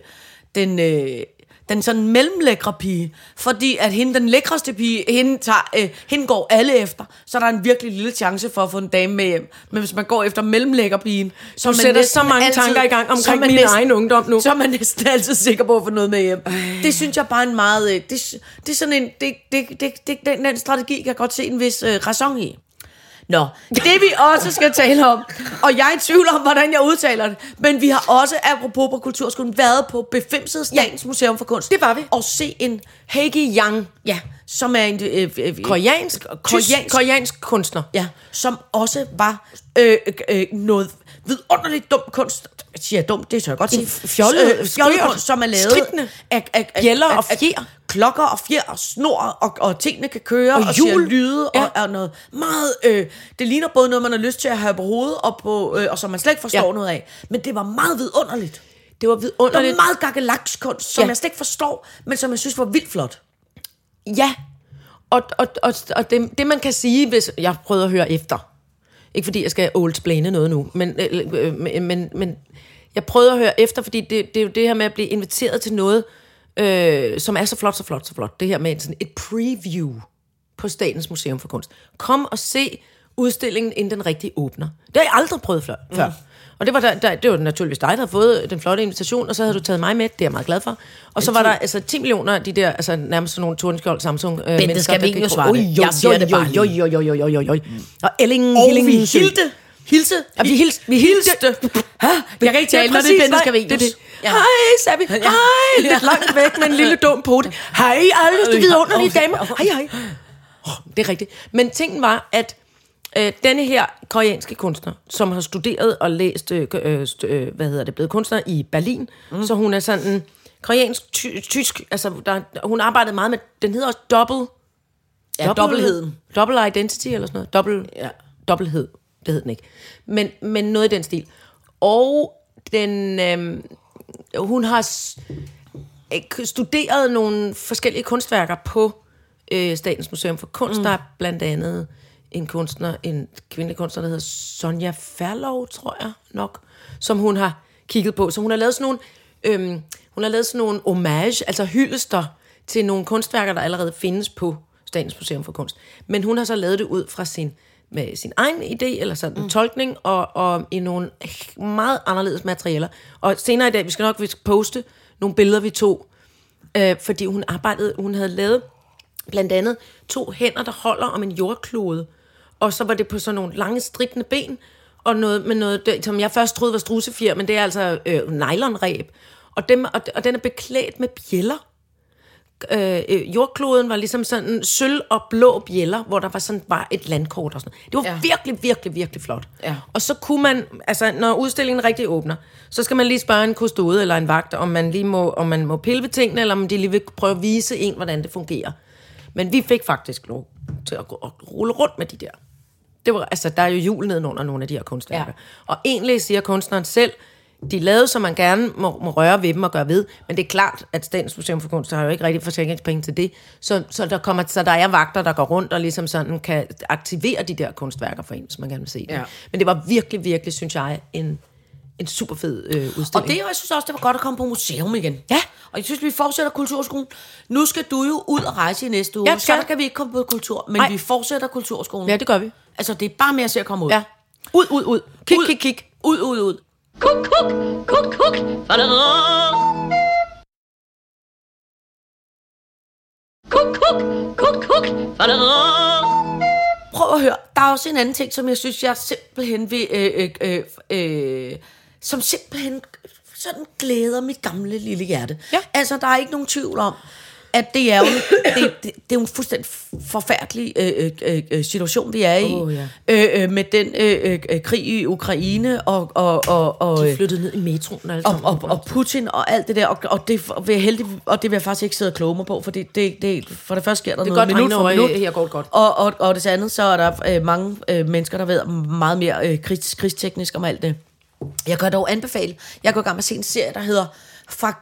Speaker 4: den, øh, den sådan mellemlækre pige. Fordi at hende, den lækreste pige, hende, tager, øh, hende går alle efter. Så er der en virkelig lille chance for at få en dame med hjem. Men hvis man går efter mellemlækkerpigen, så er
Speaker 3: Du
Speaker 4: man
Speaker 3: sætter
Speaker 4: næsten
Speaker 3: så mange tanker i gang
Speaker 4: så er
Speaker 3: omkring
Speaker 4: man
Speaker 3: min
Speaker 4: næsten-
Speaker 3: egen ungdom nu.
Speaker 4: så er man næsten altid sikker på at få noget med hjem. Det synes jeg bare er en meget... øh, Det, det er sådan en... Det, det, det, det, den, den strategi kan jeg godt se en vis øh, ræson i. Nå, det vi også skal tale om, og jeg er i tvivl om, hvordan jeg udtaler det, men vi har også, apropos på Kulturskolen, været på Befimset Statens ja. Museum for Kunst.
Speaker 3: Det var vi.
Speaker 4: Og se en,
Speaker 3: Heike Yang,
Speaker 4: ja, som er en... Øh, øh,
Speaker 3: koreansk, koreansk,
Speaker 4: Koreansk.
Speaker 3: koreansk kunstner.
Speaker 4: Ja, som også var øh, øh, øh, noget vidunderligt dum kunst. Jeg siger dumt, det tør jeg godt sige. Øh,
Speaker 3: fjollet,
Speaker 4: fjollet
Speaker 3: skørt,
Speaker 4: kunst, som er lavet
Speaker 3: stridende.
Speaker 4: af, af, af,
Speaker 3: Bjælder
Speaker 4: af,
Speaker 3: og
Speaker 4: af
Speaker 3: fjer.
Speaker 4: Klokker og fjer og snor, og, og tingene kan køre, og,
Speaker 3: Og
Speaker 4: og hjul.
Speaker 3: hjul.
Speaker 4: lyde, ja. og
Speaker 3: Ja.
Speaker 4: er noget meget... Øh, det ligner både noget, man har lyst til at have på hovedet, og, på, øh, og som man slet ikke forstår ja.
Speaker 3: Ja.
Speaker 4: noget af. Men det var meget vidunderligt.
Speaker 3: Det var
Speaker 4: Det var
Speaker 3: vidunderligt.
Speaker 4: meget gakkelakskunst, som ja.
Speaker 3: Ja.
Speaker 4: jeg slet ikke forstår, men som jeg synes var vildt flot.
Speaker 3: Ja, og, og, og, og det, det man kan sige, hvis jeg prøver at høre efter, ikke fordi jeg skal oldsplane noget nu, men, øh, øh, men- men, men jeg prøvede at høre efter, fordi det, det er jo det her med at blive inviteret til noget, øh, som er så flot, så flot, så flot. Det her med sådan et preview på Statens Museum for Kunst. Kom og se udstillingen, inden den rigtig åbner. Det har jeg aldrig prøvet før.
Speaker 4: Mm.
Speaker 3: før. Og det var, der, der, det var naturligvis dig, der havde fået den flotte invitation, og så havde du taget mig med, det er jeg meget glad for. Og så var der altså 10 millioner af de der, altså nærmest sådan nogle Tordenskjold Samsung øh,
Speaker 4: Bente
Speaker 3: mennesker,
Speaker 4: Scavenius
Speaker 3: der gik-
Speaker 4: var det.
Speaker 3: Oj, jo,
Speaker 4: Jeg siger
Speaker 3: jo,
Speaker 4: det
Speaker 3: jo,
Speaker 4: bare Mm.
Speaker 3: jo, jo, jo, jo, jo, jo, jo, jo. Og Ellingen,
Speaker 4: Og
Speaker 3: Hillingen,
Speaker 4: vi
Speaker 3: Hilsø.
Speaker 4: hilte. Hilse.
Speaker 3: Ja, vi hilste. Vi hilste. Hæ?
Speaker 4: Jeg kan ikke tale, når det er Bente Scavenius.
Speaker 3: Det, er det.
Speaker 4: Ja.
Speaker 3: Ja. Hej, sagde vi.
Speaker 4: Ja.
Speaker 3: Hej. Lidt langt væk med en lille dum pote. Hej, alle de vidunderlige
Speaker 4: Okay.
Speaker 3: damer. Hej, hej. Åh, Det er rigtigt. Men tingen var, at øh, denne her koreanske kunstner, som har studeret og læst, øh, k- øh, st- øh, hvad hedder det, blevet kunstner i Berlin, mm. så hun er sådan koreansk-tysk, altså der, hun arbejdede meget med, den hedder også dobbelt
Speaker 4: Ja, dobbeltheden.
Speaker 3: Double identity eller sådan noget. Dobbel,
Speaker 4: Ja.
Speaker 3: ja. Dobbelthed, det hed den ikke. Men, men noget i den stil. Og den, øhm, hun har s- øh, studeret nogle forskellige kunstværker på øh, Statens Museum for Kunst. Mm. Der er blandt andet en kunstner, en kvindelig kunstner, der hedder Sonja Ferlov, tror jeg nok, som hun har kigget på. Så hun har lavet sådan nogle... Øhm, Hun har lavet sådan nogle homage, altså hyldester til nogle kunstværker, der allerede findes på Statens Museum for Kunst. Men hun har så lavet det ud fra sin, med sin egen idé, eller sådan en mm. tolkning, og, og i nogle meget anderledes materialer. Og senere i dag, vi skal nok vi skal poste nogle billeder, vi tog, øh, fordi hun arbejdede, hun havde lavet blandt andet to hænder, der holder om en jordklode. Og så var det på sådan nogle lange, strikkende ben, og noget med noget, det, som jeg først troede var strusefjer, men det er altså øh, nylonreb. Og, dem, og, og den er beklædt med bjæller. Øh, øh, jordkloden var ligesom sådan sølv og blå bjæller, hvor der var sådan bare et landkort og sådan noget. Det var ja.
Speaker 4: Ja.
Speaker 3: virkelig, virkelig, virkelig flot.
Speaker 4: Ja.
Speaker 3: Og så kunne man, altså når udstillingen rigtig åbner, så skal man lige spørge en kustode eller en vagt, om man lige må, om man må pille ved tingene, eller om de lige vil prøve at vise en, hvordan det fungerer. Men vi fik faktisk lov til at, gå, at rulle rundt med de der. Det var, altså, der er jo jul nedenunder nogle af de her kunstværker. Ja. Og egentlig siger kunstneren selv, de lavede, som man gerne må, må røre ved dem og gøre ved, men det er klart, at Statens Museum for Kunst har jo ikke rigtig forsikringspenge til det, så, så, der kommer, så der er vagter, der går rundt og ligesom sådan kan aktivere de der kunstværker for en, som man gerne vil se det.
Speaker 4: Ja.
Speaker 3: Men det var virkelig, virkelig, synes jeg, en, en super fed øh, udstilling.
Speaker 4: Og det, og jeg synes også, det var godt at komme på museum igen.
Speaker 3: Ja.
Speaker 4: Og jeg synes, vi fortsætter kulturskolen. Nu skal du jo ud og rejse i næste uge,
Speaker 3: Jeg
Speaker 4: så
Speaker 3: skal.
Speaker 4: der kan vi ikke komme på kultur, men
Speaker 3: Nej.
Speaker 4: vi fortsætter kulturskolen.
Speaker 3: Ja, det gør vi.
Speaker 4: Altså, det er bare med at se at komme ud.
Speaker 3: Ja. Ud, ud, ud. Kig,
Speaker 4: Ud.
Speaker 3: kig, kig.
Speaker 4: Ud, ud, ud.
Speaker 2: Kuk, kuk, kuk, kuk. Fadadadam. Kuk, kuk, kuk, kuk. Fadadadam.
Speaker 4: Prøv at høre, der er også en anden ting, som jeg synes, jeg simpelthen vil... Øh, øh, øh, øh, som simpelthen sådan glæder mit gamle lille hjerte.
Speaker 3: Ja.
Speaker 4: Altså, der er ikke nogen tvivl om, at det er jo, det, det, det er jo en fuldstændig forfærdelig øh, øh, øh, situation, vi er i.
Speaker 3: Åh, ja.
Speaker 4: øh, øh, med den øh, øh, øh, krig i Ukraine og... og, og, og
Speaker 3: De flyttede ned i metroen og alt
Speaker 4: og, og, og Putin og alt det der, og, og, det vil jeg heldig, og det vil jeg faktisk ikke sidde og kloge mig på, for det, det, det, for det første sker der
Speaker 3: er
Speaker 4: noget
Speaker 3: godt
Speaker 4: minut
Speaker 3: regnet
Speaker 4: for
Speaker 3: over i-
Speaker 4: minut,
Speaker 3: her går det godt.
Speaker 4: Og, og, og det andet, så er der øh, mange øh, mennesker, der ved meget mere øh, krigs, krigsteknisk om alt det. Jeg kan dog anbefale, jeg går i gang med at se en serie, der hedder Fra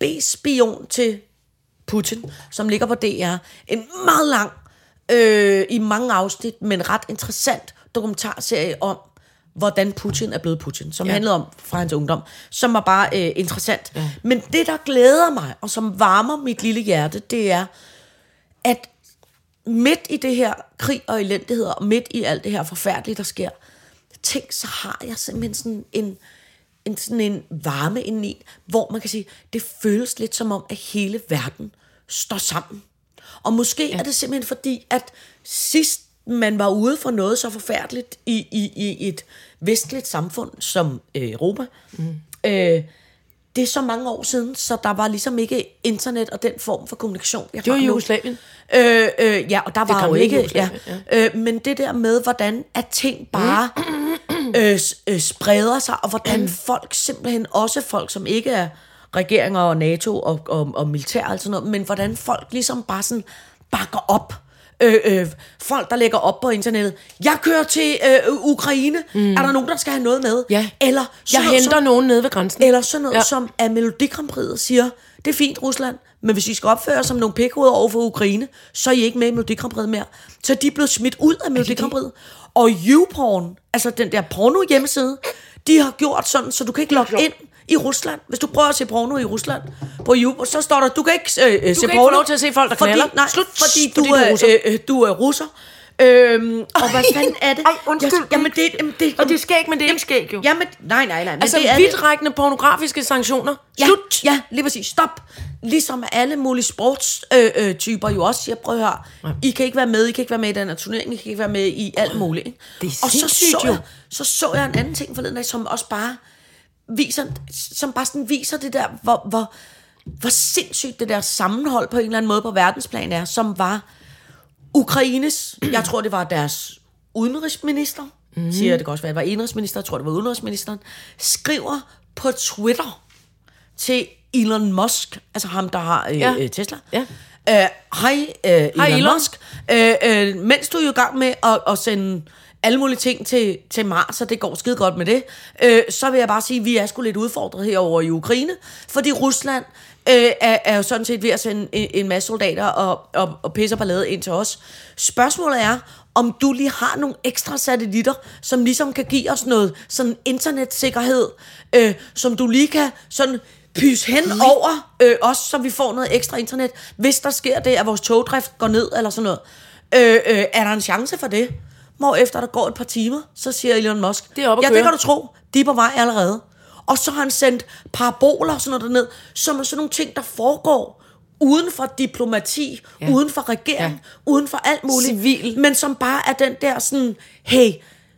Speaker 4: KGB-spion til Putin, som ligger på DR. En meget lang, øh, i mange afsnit, men ret interessant dokumentarserie om, hvordan Putin er blevet Putin, som ja. handlede om fra hans ungdom, som var bare øh, interessant. Ja. Men det, der glæder mig, og som varmer mit lille hjerte, det er, at midt i det her krig og elendighed, og midt i alt det her forfærdelige, der sker, tænk, så har jeg simpelthen sådan en, en, sådan en varme indeni, hvor man kan sige, det føles lidt som om, at hele verden står sammen. Og måske ja. er det simpelthen fordi, at sidst man var ude for noget så forfærdeligt i, i, i et vestligt samfund som øh, Europa, mm. øh, det er så mange år siden, så der var ligesom ikke internet og den form for kommunikation. Jeg
Speaker 3: Det var
Speaker 4: har nu.
Speaker 3: Jugoslavien.
Speaker 4: Øh, øh, ja, og der var jo
Speaker 3: gamle
Speaker 4: ikke... Ja.
Speaker 3: Jugoslavien,
Speaker 4: Øh, men det der med, hvordan at ting bare
Speaker 3: Mm.
Speaker 4: øh, s- øh, spreder sig, og hvordan folk simpelthen, også folk, som ikke er regeringer og NATO og, og, og militær og sådan noget, men hvordan folk ligesom bare sådan bakker op. Øh, øh, folk, der lægger op på internettet. Jeg kører til øh, Ukraine. Mm. Er der nogen, der skal have noget med?
Speaker 3: Ja.
Speaker 4: Eller sådan
Speaker 3: Jeg
Speaker 4: noget som-
Speaker 3: henter nogen nede ved grænsen.
Speaker 4: eller sådan noget,
Speaker 3: Ja.
Speaker 4: ja. som at Melodikampriet siger, det er fint Rusland, men hvis I skal opføre jer som nogle pikhoveder over for Ukraine, så er I ikke med i Melodikampriet mere. Så de er blevet smidt ud af Melodikampriet. Og YouPorn, altså den der porno hjemmeside, de har gjort sådan, så du kan ikke logge ind i Rusland. Hvis du prøver at se porno i Rusland på YouPorn, så står der, du kan ikke øh, du se
Speaker 3: kan ikke
Speaker 4: porno.
Speaker 3: få lov til at se folk, der
Speaker 4: fordi,
Speaker 3: knaller.
Speaker 4: Nej,
Speaker 3: Slut,
Speaker 4: Slut, fordi,
Speaker 3: fordi
Speaker 4: du,
Speaker 3: du er russer.
Speaker 4: er, øh, øh, du er russer. Øhm, og hvad fanden er det?
Speaker 3: Ej, undskyld.
Speaker 4: Jeg, jamen, det, jamen, det,
Speaker 3: Og det er skægt, men det er ikke skægt, jo.
Speaker 4: Jamen, nej, nej, nej. Men
Speaker 3: Altså
Speaker 4: det er det.
Speaker 3: vidtrækkende pornografiske sanktioner.
Speaker 4: Ja,
Speaker 3: Slut.
Speaker 4: ja, lige præcis. Stop. Ligesom alle mulige sportstyper øh, øh, typer jo også siger, prøv at høre, I kan ikke være med, I kan ikke være med i den her turnering, I kan ikke være med i alt muligt. Ikke?
Speaker 3: Det er
Speaker 4: og så
Speaker 3: sindssygt
Speaker 4: så,
Speaker 3: jo.
Speaker 4: jeg, så så jeg en anden ting forleden dag, som også bare viser, som bare sådan viser det der, hvor, hvor, hvor sindssygt det der sammenhold på en eller anden måde på verdensplan er, som var Ukraines, jeg tror det var deres udenrigsminister,
Speaker 3: Mhm.
Speaker 4: mm. siger jeg, det kan også være, det var indrigsminister, jeg tror det var udenrigsministeren, skriver på Twitter til Elon Musk, altså ham, der har øh,
Speaker 3: Ja.
Speaker 4: ja. Tesla.
Speaker 3: Ja.
Speaker 4: Øh, Hej øh, Elon,
Speaker 3: Elon.
Speaker 4: Elon Musk. Øh, øh, mens du er jo i gang med at, at sende alle mulige ting til, til Mars, og det går skide godt med det, øh, så vil jeg bare sige, at vi er sgu lidt udfordret herover i Ukraine, fordi Rusland øh, er, er jo sådan set ved at sende en, en masse soldater og, og, og pisser ballade ind til os. Spørgsmålet er, om du lige har nogle ekstra satellitter, som ligesom kan give os noget sådan internetsikkerhed, øh, som du lige kan sådan pys hen over øh, os, så vi får noget ekstra internet. Hvis der sker det, at vores togdrift går ned eller sådan noget, øh, øh, er der en chance for det? Hvor efter der går et par timer, så siger Elon Musk,
Speaker 3: Det er op at
Speaker 4: ja,
Speaker 3: køre."
Speaker 4: det kan du tro, de er på vej allerede. Og så har han sendt paraboler og sådan noget derned, som er sådan nogle ting, der foregår uden for diplomati, ja. uden for regering, ja. uden for alt muligt.
Speaker 3: Civil.
Speaker 4: Men som bare er den der sådan, hey,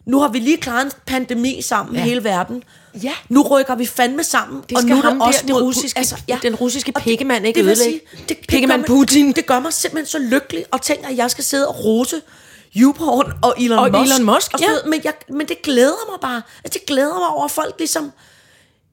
Speaker 4: nu har vi lige klaret en pandemi sammen, ja. hele verden.
Speaker 3: Ja.
Speaker 4: Nu rykker vi fandme sammen,
Speaker 3: Det skal
Speaker 4: og nu er
Speaker 3: ham
Speaker 4: det
Speaker 3: der,
Speaker 4: også
Speaker 3: det
Speaker 4: mod- altså,
Speaker 3: russiske- den russiske
Speaker 4: Og det-
Speaker 3: pikkemand ikke
Speaker 4: det vil jeg
Speaker 3: ødelægge.
Speaker 4: sige, det, det
Speaker 3: Pikkemand
Speaker 4: gør mig-
Speaker 3: Putin.
Speaker 4: Det gør mig simpelthen så lykkelig, og tænker, at jeg skal sidde og rose YouPorn og Elon
Speaker 3: Og
Speaker 4: Musk.
Speaker 3: Elon Musk,
Speaker 4: og sådan
Speaker 3: ja.
Speaker 4: noget. men, jeg, men det glæder mig bare. Altså, det glæder mig over, at folk ligesom...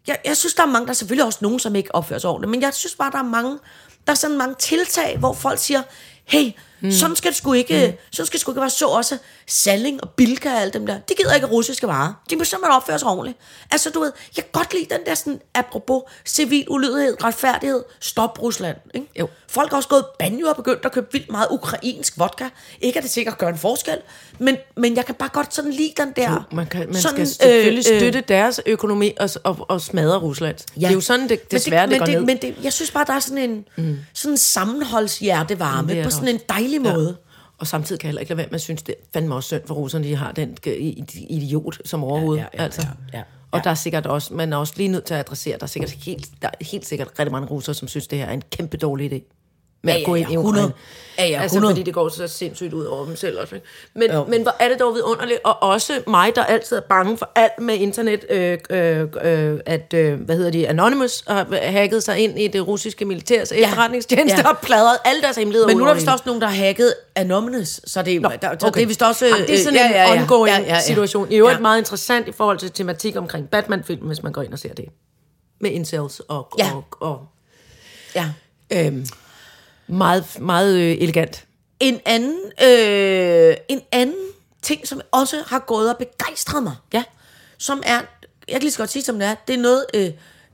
Speaker 4: Jeg, jeg synes, der er mange, der er selvfølgelig også nogen, som ikke opfører sig ordentligt, men jeg synes bare, der er mange, der er sådan mange tiltag, hvor folk siger, hey, mm. sådan skal det sgu ikke, mm. sådan skal det sgu ikke være så også Salling og Bilka og alt dem der. Det gider ikke russiske varer. De må simpelthen opføre sig ordentligt. Altså, du ved, jeg kan godt lide den der sådan, apropos civil ulydighed, retfærdighed, stop Rusland. Ikke?
Speaker 3: Jo.
Speaker 4: Folk har også gået banjo og begyndt at købe vildt meget ukrainsk vodka. Ikke at det sikkert gør en forskel, men, men jeg kan bare godt sådan lide den der...
Speaker 3: Jo, man, kan, man sådan, skal selvfølgelig øh, støtte øh, deres økonomi og, og, og smadre Rusland. Ja. Det er jo sådan, det, desværre
Speaker 4: men det,
Speaker 3: det, det går
Speaker 4: men
Speaker 3: ned.
Speaker 4: det, ned. Men det, jeg synes bare, der er sådan en, mm. sådan en sammenholdshjertevarme
Speaker 3: Det er
Speaker 4: på
Speaker 3: der
Speaker 4: sådan en
Speaker 3: også.
Speaker 4: dejlig måde.
Speaker 3: Og samtidig kan jeg heller ikke lade være med at synes, det er fandme også synd for russerne, de har den øh, idiot som overhovedet.
Speaker 4: Ja, ja, ja,
Speaker 3: altså.
Speaker 4: ja, ja.
Speaker 3: Og der er sikkert også, man er også lige nødt til at adressere, der er sikkert helt, der er helt sikkert rigtig mange russere, som synes, det her er en kæmpe dårlig idé. Med
Speaker 4: Ja,
Speaker 3: at
Speaker 4: ja,
Speaker 3: gå ind
Speaker 4: ja,
Speaker 3: i
Speaker 4: 100.
Speaker 3: Ukraine.
Speaker 4: Ja, ja,
Speaker 3: altså,
Speaker 4: 100.
Speaker 3: fordi det går så sindssygt ud over dem selv også. ikke? Men,
Speaker 4: Jo.
Speaker 3: men hvor er det dog vidunderligt, og også mig, der altid er bange for alt med internet, øh, øh, øh, at, øh, hvad hedder de, Anonymous har hacket sig ind i det russiske militærs ja. efterretningstjeneste
Speaker 4: Ja.
Speaker 3: og pladret alle deres hemmeligheder
Speaker 4: Men
Speaker 3: ud
Speaker 4: nu er der
Speaker 3: over
Speaker 4: vist
Speaker 3: hele.
Speaker 4: også nogen, der har hacket Anonymous, så det, Nå, der, så
Speaker 3: okay.
Speaker 4: det er vist også...
Speaker 3: Jamen, det er sådan
Speaker 4: øh,
Speaker 3: en ja, ja, ja. ongoing ja, ja, ja. situation. I øvrigt
Speaker 4: Ja.
Speaker 3: ja. meget interessant i forhold til tematik omkring Batman-film, hvis man går ind og ser det. Med incels og,
Speaker 4: Ja.
Speaker 3: ja. og, og
Speaker 4: Ja.
Speaker 3: øhm, meget, meget øh, elegant.
Speaker 4: En anden, øh, en anden ting, som også har gået og begejstret mig,
Speaker 3: Ja.
Speaker 4: som er, jeg kan lige så godt sige, som det er, det er noget, øh,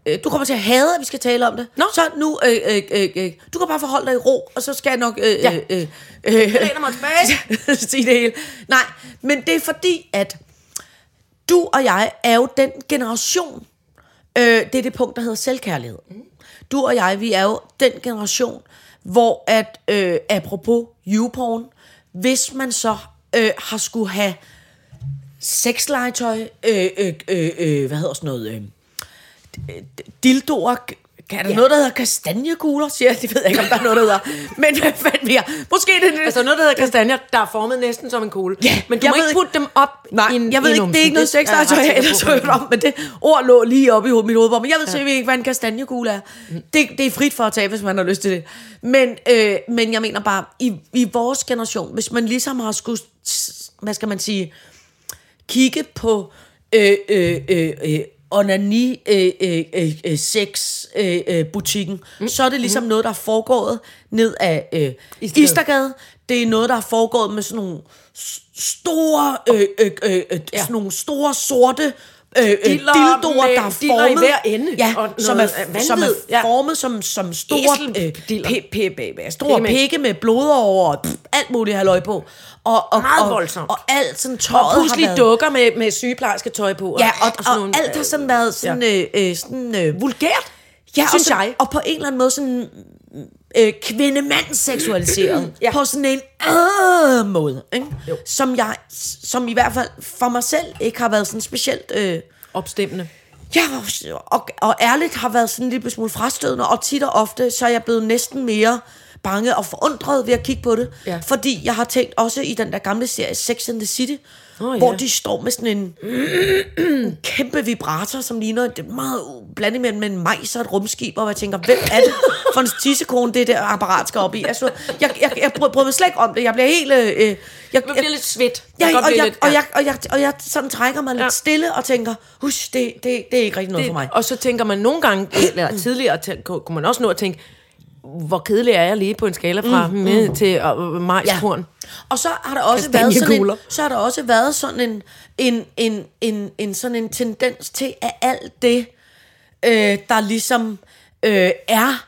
Speaker 4: øh, du kommer til at hade, at vi skal tale om det.
Speaker 3: Nå.
Speaker 4: Så nu, øh, øh, øh, øh, du kan bare forholde dig i ro, og så skal jeg nok... Øh,
Speaker 3: Ja.
Speaker 4: øh, øh, øh,
Speaker 3: læner mig
Speaker 4: [laughs]
Speaker 3: tilbage.
Speaker 4: sige det hele. Nej, men det er fordi, at du og jeg er jo den generation, øh, det er det punkt, der hedder selvkærlighed. Du og jeg, vi er jo den generation, hvor at, øh, apropos YouPorn, hvis man så øh, har skulle have sexlegetøj, øh, øh, øh, øh, hvad hedder sådan noget, øh, dildoer, kan der ja. noget, der hedder kastanjekugler, siger jeg, det ved jeg ikke, om der er noget, der hedder, men hvad fanden vi har, måske det er det,
Speaker 3: Altså noget, der hedder kastanjer, der er formet næsten som en kugle.
Speaker 4: Ja,
Speaker 3: Men du
Speaker 4: jeg
Speaker 3: må
Speaker 4: ved
Speaker 3: ikke
Speaker 4: ikke-
Speaker 3: putte dem op
Speaker 4: Nej,
Speaker 3: i en
Speaker 4: jeg ved
Speaker 3: i en
Speaker 4: ikke, det er
Speaker 3: numse.
Speaker 4: ikke noget sexlegetøj,
Speaker 3: er
Speaker 4: jeg
Speaker 3: ret sikker
Speaker 4: ellers
Speaker 3: på.
Speaker 4: hørt om, men det ord lå lige oppe i ho- mit hovedbord, men jeg ved simpelthen ikke, hvad en kastanjekugle er. Det, det er frit for at tage, hvis man har lyst til det. Men, øh, men jeg mener bare, i, i vores generation, hvis man ligesom har skulle, s- hvad skal man sige, kigge på øh, øh, øh, øh, onani øh, øh, øh, øh, sex øh, øh, butikken, mm. så er det ligesom mm. noget, der er foregået ned af øh,
Speaker 3: Istedgade.
Speaker 4: Istedgade. Istedgade. Det er noget, der er foregået med sådan nogle s- store, øh, øh, øh, øh, ja. sådan nogle store sorte øh, øh,
Speaker 3: Diller
Speaker 4: dildoer,
Speaker 3: med-
Speaker 4: der er
Speaker 3: diller i
Speaker 4: formet,
Speaker 3: hver ende,
Speaker 4: ja,
Speaker 3: og
Speaker 4: som, er,
Speaker 3: noget vanvid,
Speaker 4: som er
Speaker 3: ja.
Speaker 4: formet som, som store, øh,
Speaker 3: Æselpdiller.
Speaker 4: p- p- p- store
Speaker 3: Pikke med.
Speaker 4: pikke med blod over, og pff, alt muligt halløj på. Og, og,
Speaker 3: Meget
Speaker 4: og,
Speaker 3: voldsomt.
Speaker 4: Og alt sådan tøjet
Speaker 3: Og
Speaker 4: har
Speaker 3: pludselig
Speaker 4: været...
Speaker 3: dukker med, med sygeplejerske tøj på.
Speaker 4: Ja, og, og,
Speaker 3: sådan
Speaker 4: og
Speaker 3: nogle,
Speaker 4: alt har sådan været sådan... Ja. Øh, øh, sådan øh,
Speaker 3: vulgært,
Speaker 4: Ja,
Speaker 3: synes
Speaker 4: og, sådan,
Speaker 3: jeg.
Speaker 4: og på en eller anden måde sådan øh, kvindemand seksualiseret. [clears throat] ja. På sådan en øh, måde, ikke?
Speaker 3: Jo.
Speaker 4: Som jeg, som i hvert fald for mig selv ikke har været sådan specielt... Øh,
Speaker 3: Opstemmende.
Speaker 4: ja, og, og ærligt har været sådan en lille smule frastødende, og tit og ofte, så er jeg blevet næsten mere bange og forundret ved at kigge på det.
Speaker 3: Ja.
Speaker 4: Fordi jeg har tænkt også i den der gamle serie Sex and the City,
Speaker 3: Åh,
Speaker 4: oh, hvor
Speaker 3: ja.
Speaker 4: de står med sådan en [clears throat] kæmpe vibrator, som ligner det er meget blandet mellem en majs og et rumskib, og jeg tænker, hvem er det for en tissekone, det der apparat skal op i? Altså, jeg, jeg, jeg bryder bryder mig slet ikke om det. Jeg bliver helt... Øh, øh, jeg,
Speaker 3: Man bliver lidt svedt.
Speaker 4: Ja,
Speaker 3: Man kan
Speaker 4: og,
Speaker 3: godt blive
Speaker 4: jeg,
Speaker 3: lidt-
Speaker 4: og,
Speaker 3: ja.
Speaker 4: jeg, og, jeg, og jeg sådan trækker mig lidt
Speaker 3: Ja.
Speaker 4: stille og tænker, husk, det, det, det er ikke rigtig noget det, for mig. Mm.
Speaker 3: Og så tænker man nogle gange, eller tidligere tæ- ku- kunne man også nå at tænke, hvor kedelig er jeg lige på en skala fra mm, med mm. til uh, majskorn. Ja.
Speaker 4: Og så har der også været sådan en,
Speaker 3: Kastanjekugler.
Speaker 4: så har der også været sådan en, en, en, en, en, sådan en tendens til, at alt det, øh, der ligesom øh, er,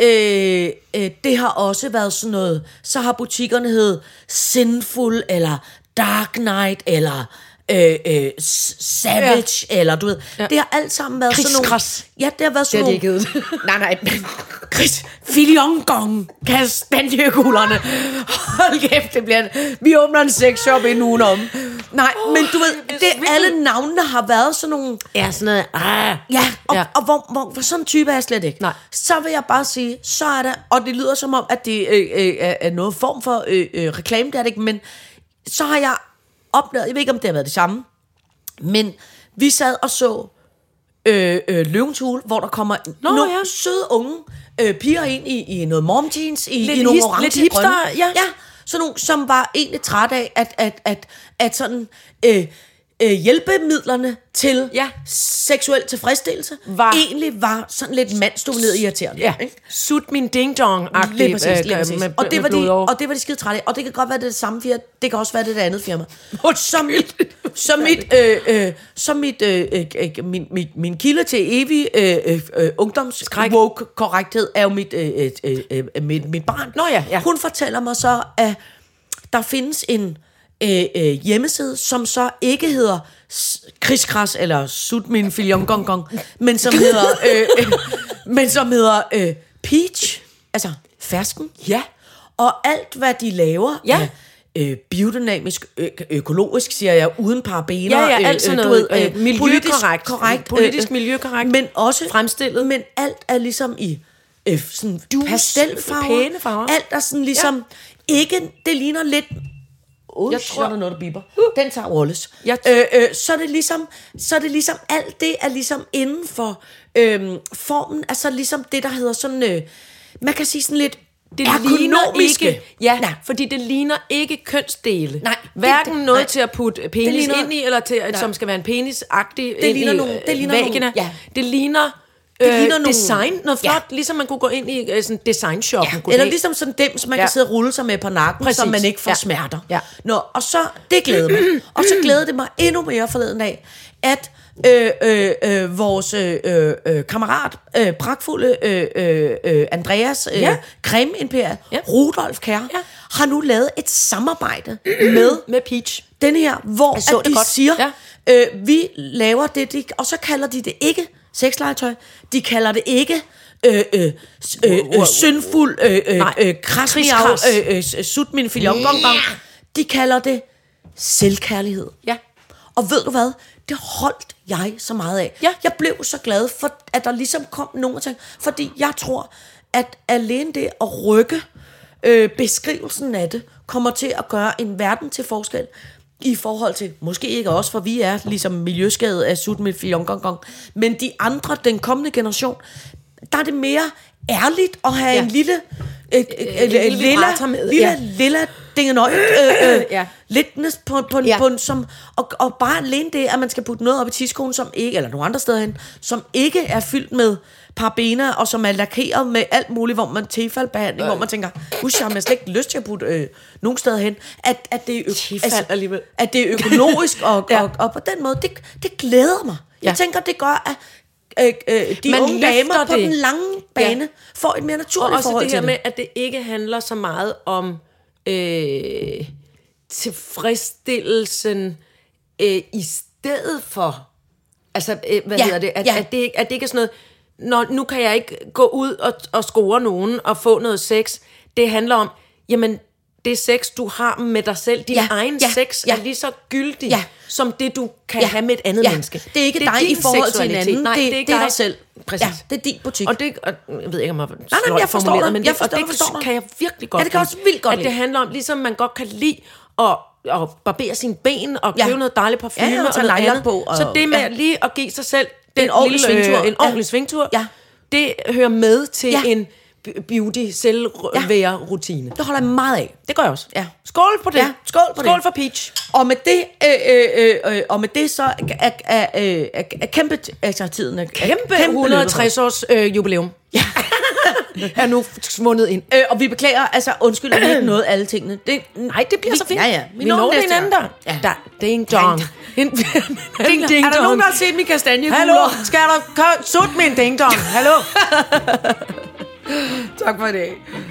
Speaker 4: øh, øh, det har også været sådan noget, så har butikkerne hed Sinful, eller Dark Knight, eller øh, øh, s- savage, ja. eller du ved. Ja. Det har alt sammen været sådan nogle...
Speaker 3: Kriskras.
Speaker 4: Ja, det har været sådan
Speaker 3: Det har de [laughs]
Speaker 4: nogle...
Speaker 3: ikke heddet.
Speaker 4: nej, nej, men... Chris, filiongong, kastanjehullerne. Hold kæft, det bliver en... Vi åbner en sexshop en uge om. Nej, oh, men du ved, det, alle navnene har været sådan nogle...
Speaker 3: Ja, sådan noget. Ah.
Speaker 4: Ja, og, ja.
Speaker 3: Ja.
Speaker 4: og hvor, hvor, hvor sådan en type er jeg slet ikke.
Speaker 3: Nej.
Speaker 4: Så vil jeg bare sige, så er det, og det lyder som om, at det øh, øh, er er noget form for øh, øh, reklame, det er det ikke, men så har jeg oplevet, jeg ved ikke, om det har været det samme, men vi sad og så øh, øh, Løvens Hule, hvor der kommer Nå, nogle ja.
Speaker 3: ja.
Speaker 4: søde unge øh, piger ind i, i noget mom jeans, i,
Speaker 3: Lidt
Speaker 4: i nogle
Speaker 3: his-
Speaker 4: orange
Speaker 3: lidt hipster,
Speaker 4: grønne.
Speaker 3: ja.
Speaker 4: ja sådan nogle, som var egentlig træt af, at, at, at, at sådan, øh, øh, hjælpemidlerne til
Speaker 3: Ja.
Speaker 4: seksuel tilfredsstillelse
Speaker 3: Var-
Speaker 4: egentlig var sådan lidt mandsdomineret irriterende.
Speaker 3: Ja.
Speaker 4: ikke?
Speaker 3: Sut min ding-dong-agtig.
Speaker 4: Lige præcis, lige
Speaker 3: øh,
Speaker 4: præcis.
Speaker 3: Med,
Speaker 4: og, det var
Speaker 3: med blod
Speaker 4: de,
Speaker 3: over.
Speaker 4: og det var de skide trætte af. Og det kan godt være, det er det samme firma. Det kan også være, det er det andet firma. Som mit, som mit, øh, øh, som mit, øh, øh, øh, min, min, min kilde til evig øh, øh, øh, ungdoms woke korrekthed er jo mit, øh, øh, øh, øh, mit, mit barn.
Speaker 3: Nå ja, ja.
Speaker 4: Hun fortæller mig så, at der findes en øh, øh, hjemmeside, som så ikke hedder s- Kriskras eller Sut min filion gong gong, men som hedder, øh, øh, men som hedder øh, Peach, altså fersken.
Speaker 3: Ja.
Speaker 4: Og alt, hvad de laver
Speaker 3: Ja.
Speaker 4: af, øh, biodynamisk, ø- økologisk, siger jeg, uden parabener.
Speaker 3: Ja, ja, alt sådan noget, øh, miljøkorrekt.
Speaker 4: politisk korrekt. øh,
Speaker 3: Politisk miljøkorrekt.
Speaker 4: Men også...
Speaker 3: Fremstillet.
Speaker 4: Men alt er ligesom i øh, sådan
Speaker 3: Dus,
Speaker 4: pastelfarver.
Speaker 3: pæne farver.
Speaker 4: Alt er sådan ligesom... Ja. Ikke, det ligner lidt... Oh, jeg tror,
Speaker 3: så-
Speaker 4: der er noget, der biber. Den tager Wallace.
Speaker 3: Jeg-
Speaker 4: Øh, øh, så, er det ligesom, så er det ligesom, alt det er ligesom inden for øhm, formen, er så ligesom det, der hedder sådan, øh, man kan sige sådan lidt
Speaker 3: det ligner
Speaker 4: ergonomiske.
Speaker 3: ikke, ja,
Speaker 4: Nej.
Speaker 3: Nej. fordi det ligner ikke kønsdele.
Speaker 4: Nej,
Speaker 3: Hverken
Speaker 4: det- det-
Speaker 3: noget
Speaker 4: nej.
Speaker 3: til at putte penis
Speaker 4: ligner-
Speaker 3: ligner, ind i, eller til,
Speaker 4: Nej.
Speaker 3: at, som skal være en penisagtig
Speaker 4: Det
Speaker 3: ind
Speaker 4: ligner
Speaker 3: i,
Speaker 4: nogle-
Speaker 3: øh,
Speaker 4: det ligner nogle-
Speaker 3: vagina.
Speaker 4: ja.
Speaker 3: Det ligner,
Speaker 4: Det
Speaker 3: øh,
Speaker 4: ligner nogle-
Speaker 3: design, noget
Speaker 4: Ja.
Speaker 3: flot, ligesom man kunne gå ind i øh, sådan designshoppen.
Speaker 4: Ja,
Speaker 3: Goddag.
Speaker 4: eller ligesom sådan dem, som man ja.
Speaker 3: Ja.
Speaker 4: kan sidde og rulle sig med på nakken, Præcis.
Speaker 3: Præcis.
Speaker 4: så man ikke får ja.
Speaker 3: Ja.
Speaker 4: smerter.
Speaker 3: Ja.
Speaker 4: Nå, og så, det glæder mig. Og så glæder det mig endnu mere forleden af, at øh, øh, øh, vores øh, øh, øh, kammerat, øh, pragtfulde øh, øh, øh, Andreas øh, ja.
Speaker 3: Ja.
Speaker 4: Creme Imperiet, ja.
Speaker 3: Ja.
Speaker 4: Rudolf Kær, ja.
Speaker 3: Ja.
Speaker 4: har nu lavet et samarbejde med
Speaker 3: med peach.
Speaker 4: den her, hvor
Speaker 3: så
Speaker 4: at
Speaker 3: det
Speaker 4: de
Speaker 3: godt.
Speaker 4: siger, ja.
Speaker 3: Ja.
Speaker 4: øh, vi laver det, de, og så kalder de det ikke sexlegetøj, de kalder det ikke øh, øh, s- øh, øh, syndfuld, øh, øh,
Speaker 3: Nej.
Speaker 4: øh, kras, miau,
Speaker 3: Kriskras.
Speaker 4: øh, øh, s- sut min filion, bong, bong. De kalder det selvkærlighed.
Speaker 3: Ja.
Speaker 4: Og ved du hvad? Det holdt jeg så meget af.
Speaker 3: Ja.
Speaker 4: Jeg blev så glad for, at der ligesom kom nogle ting. Fordi jeg tror, at alene det at rykke øh, beskrivelsen af det, kommer til at gøre en verden til forskel i forhold til, måske ikke os, for vi er ligesom miljøskadet af sut med Gong, men de andre, den kommende generation, der er det mere ærligt at have ja.
Speaker 3: Ja.
Speaker 4: en lille, øh, øh, øh,
Speaker 3: lille
Speaker 4: lilla,
Speaker 3: vibrator med,
Speaker 4: lilla,
Speaker 3: ja.
Speaker 4: lilla dingenøj, øh, øh,
Speaker 3: Ja.
Speaker 4: litness på, på, en, ja.
Speaker 3: Ja.
Speaker 4: på en, som, og, og bare alene det, at man skal putte noget op i tidskoen, som ikke, eller nogle andre steder hen, som ikke er fyldt med parabener, og som er lakeret med alt muligt, hvor man tilfaldbehandling, øh. hvor man tænker, husk, jeg har slet ikke lyst til at putte øh, nogen steder hen, at, at, det, er ø- altså,
Speaker 3: Tefal alligevel.
Speaker 4: at det er
Speaker 3: [laughs]
Speaker 4: økologisk, og, ja.
Speaker 3: Ja.
Speaker 4: og, og, på den måde, det, det glæder mig. Jeg
Speaker 3: Ja.
Speaker 4: tænker, det gør, at øh, øh, de
Speaker 3: Man
Speaker 4: man unge damer
Speaker 3: løfter
Speaker 4: på
Speaker 3: det.
Speaker 4: den lange
Speaker 3: Ja.
Speaker 4: bane ja. får et mere
Speaker 3: Og
Speaker 4: naturligt
Speaker 3: også
Speaker 4: forhold
Speaker 3: det
Speaker 4: til
Speaker 3: her
Speaker 4: det.
Speaker 3: med, at det ikke handler så meget om øh, tilfredsstillelsen øh, i stedet for. Altså, øh, hvad
Speaker 4: Ja,
Speaker 3: ja, hedder det? At,
Speaker 4: ja.
Speaker 3: ja. at det? ikke- At det ikke er sådan noget, Nå, nu kan jeg ikke gå ud og, og score nogen og få noget sex. Det handler om, jamen, det sex, du har med dig selv, din
Speaker 4: Ja,
Speaker 3: ja, egen
Speaker 4: ja,
Speaker 3: ja, sex,
Speaker 4: ja.
Speaker 3: ja. er lige så gyldig
Speaker 4: Ja.
Speaker 3: ja. som det, du kan
Speaker 4: Ja,
Speaker 3: ja, have med et andet
Speaker 4: ja.
Speaker 3: menneske.
Speaker 4: Det er ikke dig i
Speaker 3: din
Speaker 4: forhold til en
Speaker 3: seksualitet.
Speaker 4: anden.
Speaker 3: Nej,
Speaker 4: Det-
Speaker 3: det, er ikke
Speaker 4: det er dig
Speaker 3: dig
Speaker 4: selv.
Speaker 3: Præcis.
Speaker 4: Ja, det er din butik.
Speaker 3: Og det, og, jeg ved ikke, om jeg nej,
Speaker 4: nej, men jeg forstår dig.
Speaker 3: men det,
Speaker 4: Jeg forstår-
Speaker 3: og
Speaker 4: jeg
Speaker 3: det
Speaker 4: forstår dig.
Speaker 3: kan jeg virkelig godt
Speaker 4: Ja, det kan jeg
Speaker 3: lide.
Speaker 4: også vildt godt
Speaker 3: At
Speaker 4: lide.
Speaker 3: det handler om, ligesom man godt kan lide at, at barbere sine ben og
Speaker 4: Ja.
Speaker 3: købe noget dejligt parfume
Speaker 4: Ja, ja, og
Speaker 3: og
Speaker 4: tage
Speaker 3: noget
Speaker 4: lilac
Speaker 3: andet.
Speaker 4: på, og-
Speaker 3: så det med
Speaker 4: ja.
Speaker 3: ja. lige at give sig selv den
Speaker 4: En ordentlig
Speaker 3: lille, øh,
Speaker 4: svingtur.
Speaker 3: en ordentlig
Speaker 4: Ja.
Speaker 3: svingtur,
Speaker 4: Ja.
Speaker 3: det hører med til
Speaker 4: Ja.
Speaker 3: en b- beauty selvvære rutine.
Speaker 4: Det holder jeg meget af.
Speaker 3: Det gør jeg også.
Speaker 4: Ja.
Speaker 3: Skål på det.
Speaker 4: Ja, skål på det.
Speaker 3: Skål for peach.
Speaker 4: Og med det, øh, øh, øh, øh, og med det så er, er, er, er, er kæmpe, altså tiden er
Speaker 3: Kæmpe,
Speaker 4: løbet.
Speaker 3: 160 års øh, jubilæum.
Speaker 4: [laughs]
Speaker 3: Ja. er nu svundet ind.
Speaker 4: Øh, og vi beklager, altså undskyld, at vi ikke nåede alle tingene. Det,
Speaker 3: Nej, det bliver
Speaker 4: vi,
Speaker 3: så fint.
Speaker 4: Ja, ja.
Speaker 3: Vi, når det
Speaker 4: næste
Speaker 3: hinanden
Speaker 4: gang.
Speaker 3: der.
Speaker 4: Ja. [laughs]
Speaker 3: der. Ding dong. En, en ding
Speaker 4: Er der nogen, der har
Speaker 3: dong.
Speaker 4: set min kastanjekugler?
Speaker 3: Hallo, skal der sut min ding dong? Hallo.
Speaker 4: Tak for i dag.